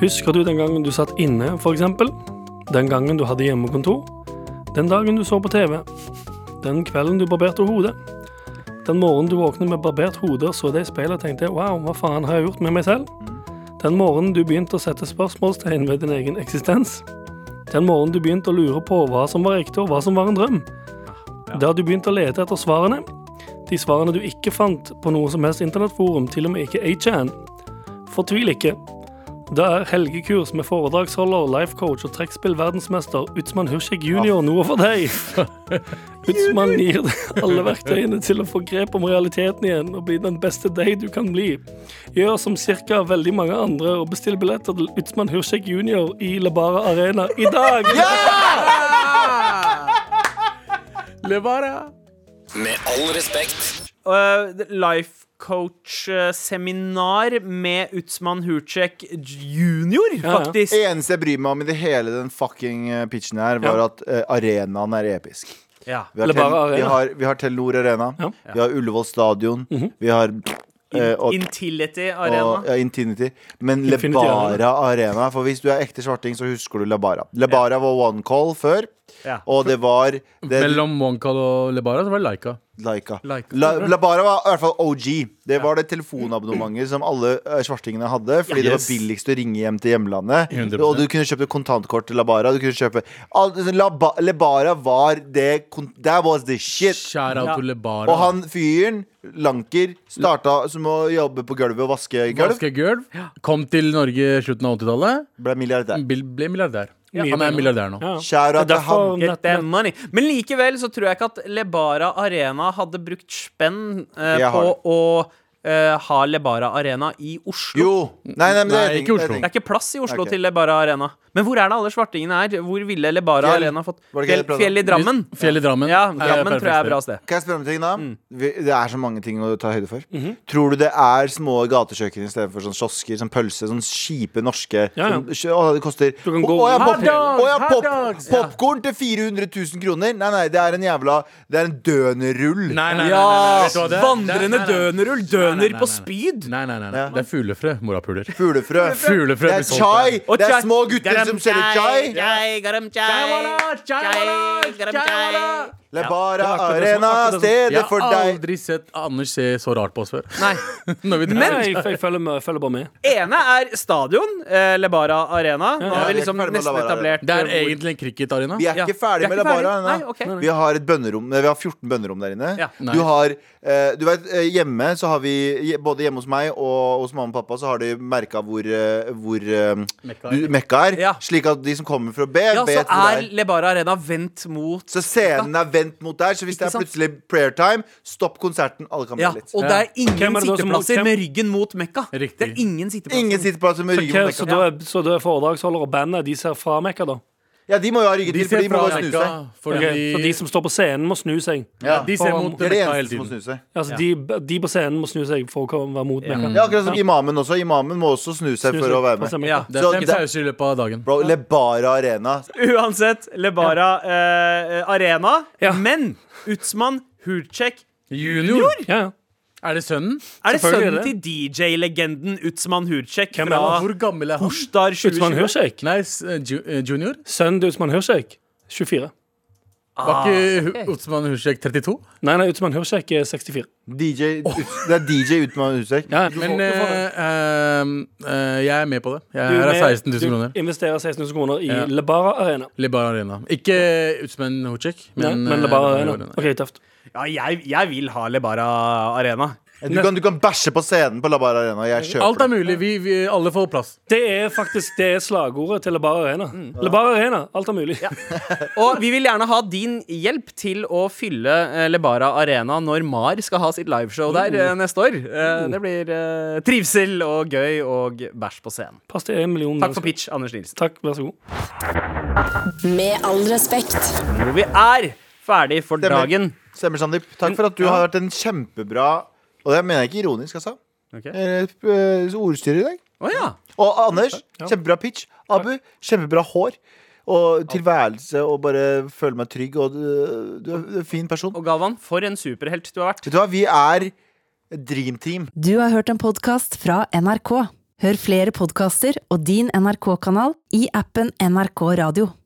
Speaker 4: Husker du den gangen du satt inne, f.eks.? Den gangen du hadde hjemmekontor? Den dagen du så på TV? Den kvelden du barberte hodet? Den morgenen du våknet med barbert hode og så deg i speilet og tenkte 'wow, hva faen har jeg gjort med meg selv'? Den morgenen du begynte å sette spørsmålstegn ved din egen eksistens? Den morgenen du begynte å lure på hva som var ekte og hva som var en drøm? Der du begynte å lete etter svarene? De svarene du ikke fant på noe som helst internettforum, til og med ikke 8chan? Fortvil ikke. Det er helgekurs med foredragsholder, lifecoach og trekkspillverdensmester Utsmann Hursek jr. noe for deg. Utsmann gir deg alle verktøyene til å få grep om realiteten igjen og bli den beste deg du kan bli. Gjør som cirka veldig mange andre og bestill billetter til Utsmann Hursek jr. i Labara Arena i dag.
Speaker 5: Levara.
Speaker 6: Med all respekt.
Speaker 2: Uh, life coach-seminar med Utsman Hurcek junior,
Speaker 4: Ja, ja.
Speaker 2: faktisk.
Speaker 3: Eneste jeg bryr meg om i det hele den fucking eh, pitchen her, var
Speaker 4: Ja.
Speaker 3: at eh, arenaen er episk.
Speaker 2: Ja.
Speaker 3: Vi har,
Speaker 4: Eller bare
Speaker 3: Tel- vi
Speaker 4: arena.
Speaker 3: har, vi har Telenor Arena.
Speaker 4: Ja. Mhm.
Speaker 3: Vi har Ullevål Stadion. Vi har eh, og,
Speaker 2: Intility
Speaker 3: og,
Speaker 2: Arena.
Speaker 3: ja, Infinity. Men
Speaker 4: Infinity
Speaker 3: Lebara Arena For hvis du er ekte svarting, så husker du Lebara. Lebara var one call før,
Speaker 2: Ja.
Speaker 3: og det var det,
Speaker 5: Mellom Monkal og Lebara så var det Laika.
Speaker 3: Laika.
Speaker 5: Laika.
Speaker 3: La, Lebara var i hvert fall OG. Det var det telefonabonnementet som alle eh, svartingene hadde, fordi det var
Speaker 5: Yes.
Speaker 3: billigst å ringe hjem til hjemlandet.
Speaker 5: 100%.
Speaker 3: Og du kunne kjøpe kontantkort til Labara. Du kunne kjøpe, Al- Laba, Lebara var det kon- That was the shit.
Speaker 5: Shout out
Speaker 2: Ja.
Speaker 5: to Lebara.
Speaker 3: Og han fyren, Lanker, starta som å jobbe på gulvet og vaske gulv.
Speaker 5: Ganske gulv. Kom til Norge i slutten av 80-tallet.
Speaker 3: Ble milliardær.
Speaker 5: Bil- Ble milliardær.
Speaker 4: Ja.
Speaker 5: Han er milliardær nå.
Speaker 4: Ja.
Speaker 3: Shout out
Speaker 4: Det er
Speaker 3: til han.
Speaker 4: derfor-
Speaker 2: Get that money. Men likevel så tror jeg ikke at Lebara Arena hadde brukt spenn eh,
Speaker 3: Jeg
Speaker 2: på
Speaker 3: har
Speaker 2: å eh, ha Lebara Arena i Oslo.
Speaker 3: Jo. Nei, nei, men det er
Speaker 5: Nei,
Speaker 3: ting- det
Speaker 5: ikke
Speaker 3: er
Speaker 5: Oslo.
Speaker 3: ting.
Speaker 2: Det er ikke plass i Oslo
Speaker 3: Ok.
Speaker 2: til Lebara Arena. Men hvor er det alle svartingene er? Hvor ville Lebara
Speaker 3: Fjell.
Speaker 2: Arena fått
Speaker 3: Var
Speaker 2: Fjell,
Speaker 3: det ikke det jeg prøvde?
Speaker 2: fjell i Drammen?
Speaker 5: Fjell i Drammen.
Speaker 2: Ja,
Speaker 5: er
Speaker 2: Drammen tror jeg er
Speaker 5: perfekt sted.
Speaker 2: et bra sted.
Speaker 3: Kan jeg spørre om en ting, da? Vi, det er så mange ting å ta høyde for. Tror du det er små gatekjøkken istedenfor sånn kiosker, sånn pølse, sånn kjipe norske
Speaker 4: Ja, ja.
Speaker 3: sånn- kjø- Å, det koster
Speaker 4: Du kan
Speaker 3: Å,
Speaker 4: gå-
Speaker 3: å, ja,
Speaker 4: Hot
Speaker 3: pop,
Speaker 2: dogs,
Speaker 3: å, ja,
Speaker 2: hot
Speaker 3: pop,
Speaker 2: dogs, ja.
Speaker 3: popcorn til 400 000 kroner? Nei, nei, det er en jævla Det er en dønerrull.
Speaker 5: Nei, nei, nei,
Speaker 2: Ja!
Speaker 5: nei, nei, vet du hva det er?
Speaker 2: Vandrende
Speaker 5: Det er- nei, nei.
Speaker 2: dønerull.
Speaker 5: Nei, nei,
Speaker 2: Døner
Speaker 5: nei,
Speaker 2: på
Speaker 5: nei.
Speaker 2: spyd.
Speaker 5: Nei, nei, nei. nei.
Speaker 3: Ja.
Speaker 5: Det er fuglefrø, morapuler.
Speaker 3: Fuglefrø. Det
Speaker 5: Fuglefrø
Speaker 3: er
Speaker 5: blir solgt
Speaker 3: chai.
Speaker 2: Og
Speaker 3: Det er
Speaker 2: chai.
Speaker 3: små gutter som selger chai. Lebara
Speaker 4: Ja, det var akkurat det som-
Speaker 3: Arena,
Speaker 4: akkurat det som-
Speaker 3: stedet
Speaker 5: Jeg
Speaker 3: for
Speaker 5: har
Speaker 3: deg.
Speaker 5: aldri sett Anders se så rart på oss før.
Speaker 2: Nei.
Speaker 5: Når vi
Speaker 4: Men
Speaker 5: drar-
Speaker 4: jeg, jeg, følger, med, jeg følger bare med.
Speaker 2: Ene er stadion, eh, Lebara Arena. Nå har vi
Speaker 3: jeg er
Speaker 2: liksom
Speaker 3: ikke ferdig med
Speaker 2: nesten
Speaker 3: Lebara Arena.
Speaker 2: etablert
Speaker 5: Det er
Speaker 2: eh, hvor-
Speaker 5: egentlig en cricketarena.
Speaker 3: Vi er
Speaker 2: Ja.
Speaker 3: ikke ferdig
Speaker 2: Vi er
Speaker 3: med
Speaker 2: ikke
Speaker 3: Lebara
Speaker 2: ferdig. Nei,
Speaker 3: ennå.
Speaker 2: ok.
Speaker 3: Vi har et bønnerom nei, Vi har 14 bønnerom der inne.
Speaker 2: Ja.
Speaker 5: Nice.
Speaker 3: Du har eh, Du vet, eh, hjemme så har vi je- Både hjemme hos meg og hos mamma og pappa så har de merka hvor, eh, hvor eh,
Speaker 5: Mekka er.
Speaker 3: du, Mekka er.
Speaker 2: Ja.
Speaker 3: Slik at de som kommer fra B,
Speaker 2: Ja, så
Speaker 3: vet hvor
Speaker 2: er
Speaker 3: det er.
Speaker 2: Lebara Arena vendt mot
Speaker 3: Så scenen er vendt mot der. Så hvis det
Speaker 2: Ikke
Speaker 3: er
Speaker 2: sant?
Speaker 3: plutselig prayer time, stopp konserten. Alle kan
Speaker 2: Ja,
Speaker 3: bli litt.
Speaker 2: og det er
Speaker 4: Hvem
Speaker 2: ingen
Speaker 4: er det da som-
Speaker 2: sitteplasser
Speaker 4: hvem-
Speaker 2: med ryggen mot Mekka.
Speaker 5: Riktig.
Speaker 2: Det er ingen sitteplasser.
Speaker 3: Ingen sitteplasser med ryggen
Speaker 4: Ok,
Speaker 3: mot
Speaker 4: så,
Speaker 3: Mekka.
Speaker 4: da er, så da er foredragsholder og bandet De ser fra Mekka, da.
Speaker 3: Ja, de må jo ha ryggen
Speaker 5: De
Speaker 3: til, for
Speaker 5: ser
Speaker 3: de må
Speaker 5: fra
Speaker 3: jo snu
Speaker 5: Mekka,
Speaker 3: seg.
Speaker 5: fordi
Speaker 4: Ok, Så de som står på scenen, må snu seg.
Speaker 3: Ja.
Speaker 5: de ser mot
Speaker 3: Det er det
Speaker 5: Mekka hele
Speaker 3: eneste som må
Speaker 5: tiden.
Speaker 3: snu seg.
Speaker 4: Altså, de, de på scenen må snu seg for å komme- være mot Mekka.
Speaker 3: Ja, akkurat som imamen også. Imamen må også snu seg for å være med.
Speaker 4: Stemmer.
Speaker 2: Ja.
Speaker 5: Det
Speaker 3: Så
Speaker 5: er fem
Speaker 3: det-
Speaker 5: pauser i løpet av dagen.
Speaker 3: Bro, Lebara Arena.
Speaker 2: Uansett, Lebara eh, Arena.
Speaker 4: Ja.
Speaker 2: Men Utsman Hurcek
Speaker 5: Junior!
Speaker 4: Ja, ja.
Speaker 5: Er det sønnen?
Speaker 2: er det
Speaker 4: Selvfølgelig er
Speaker 2: sønnen til DJ-legenden Utsman Hurcek
Speaker 4: Hvem er
Speaker 2: fra
Speaker 5: Hvor gammel er han?
Speaker 2: Horstar
Speaker 4: Utsmann
Speaker 2: 2020?
Speaker 4: Hørsek.
Speaker 5: Nei, s- eh, ju- eh, junior?
Speaker 4: Sønnen til Utsmann Hørsek. 24.
Speaker 5: Var ikke Otsman Hushek 32?
Speaker 4: Nei, nei, Utsmann Hørsek er 64.
Speaker 3: DJ, Det er DJ Utmann Husek.
Speaker 4: Ja,
Speaker 5: Men
Speaker 4: du får det.
Speaker 5: eh, eh, eh, jeg er med på det. Jeg
Speaker 4: Du
Speaker 5: her er
Speaker 4: med-
Speaker 5: 16 000 kroner.
Speaker 4: Du investerer 16 000 kroner i
Speaker 5: Ja.
Speaker 4: Lebara Arena.
Speaker 5: Lebara Arena. Ikke Utsman Hushek,
Speaker 4: Men,
Speaker 5: men,
Speaker 4: men
Speaker 5: eh,
Speaker 4: Lebara Arena. OK, tøft.
Speaker 2: Ja, jeg, jeg vil ha Lebara Arena.
Speaker 3: Du kan, du kan bæsje på scenen på Labar Arena. Jeg
Speaker 5: Alt
Speaker 3: kjøper
Speaker 5: er
Speaker 3: det.
Speaker 5: mulig. Vi, vi, alle får plass.
Speaker 4: Det er faktisk det er slagordet til Lebara Arena. Lebara Arena, alt er mulig.
Speaker 2: Og vi vil gjerne ha din hjelp til å fylle eh, Lebara Arena når Mar skal ha sitt liveshow der eh, neste år. Eh, Det blir eh, trivsel og gøy og bæsj på scenen.
Speaker 4: Pass til en million
Speaker 2: Takk for
Speaker 4: mennesker.
Speaker 2: pitch, Anders Nilsen.
Speaker 4: Takk, vær så god.
Speaker 1: Med all respekt.
Speaker 2: Hvor vi er ferdig for
Speaker 3: Stemmer.
Speaker 2: dagen.
Speaker 3: Stemmer, Sandeep. Takk for at du har vært en kjempebra Og det mener jeg ikke ironisk, altså.
Speaker 2: Ok.
Speaker 3: Eh, eh, Ordstyrer i dag.
Speaker 2: Å ja.
Speaker 3: Og Anders, kjempebra pitch. Abu, kjempebra hår. Og tilværelse og bare føle meg trygg. Og du, du er en fin person.
Speaker 2: Og Galvan, for en superhelt du har vært.
Speaker 3: Vet du hva, vi er et dream team.
Speaker 7: Du har hørt en podkast fra NRK. Hør flere podkaster og din NRK-kanal i appen NRK Radio.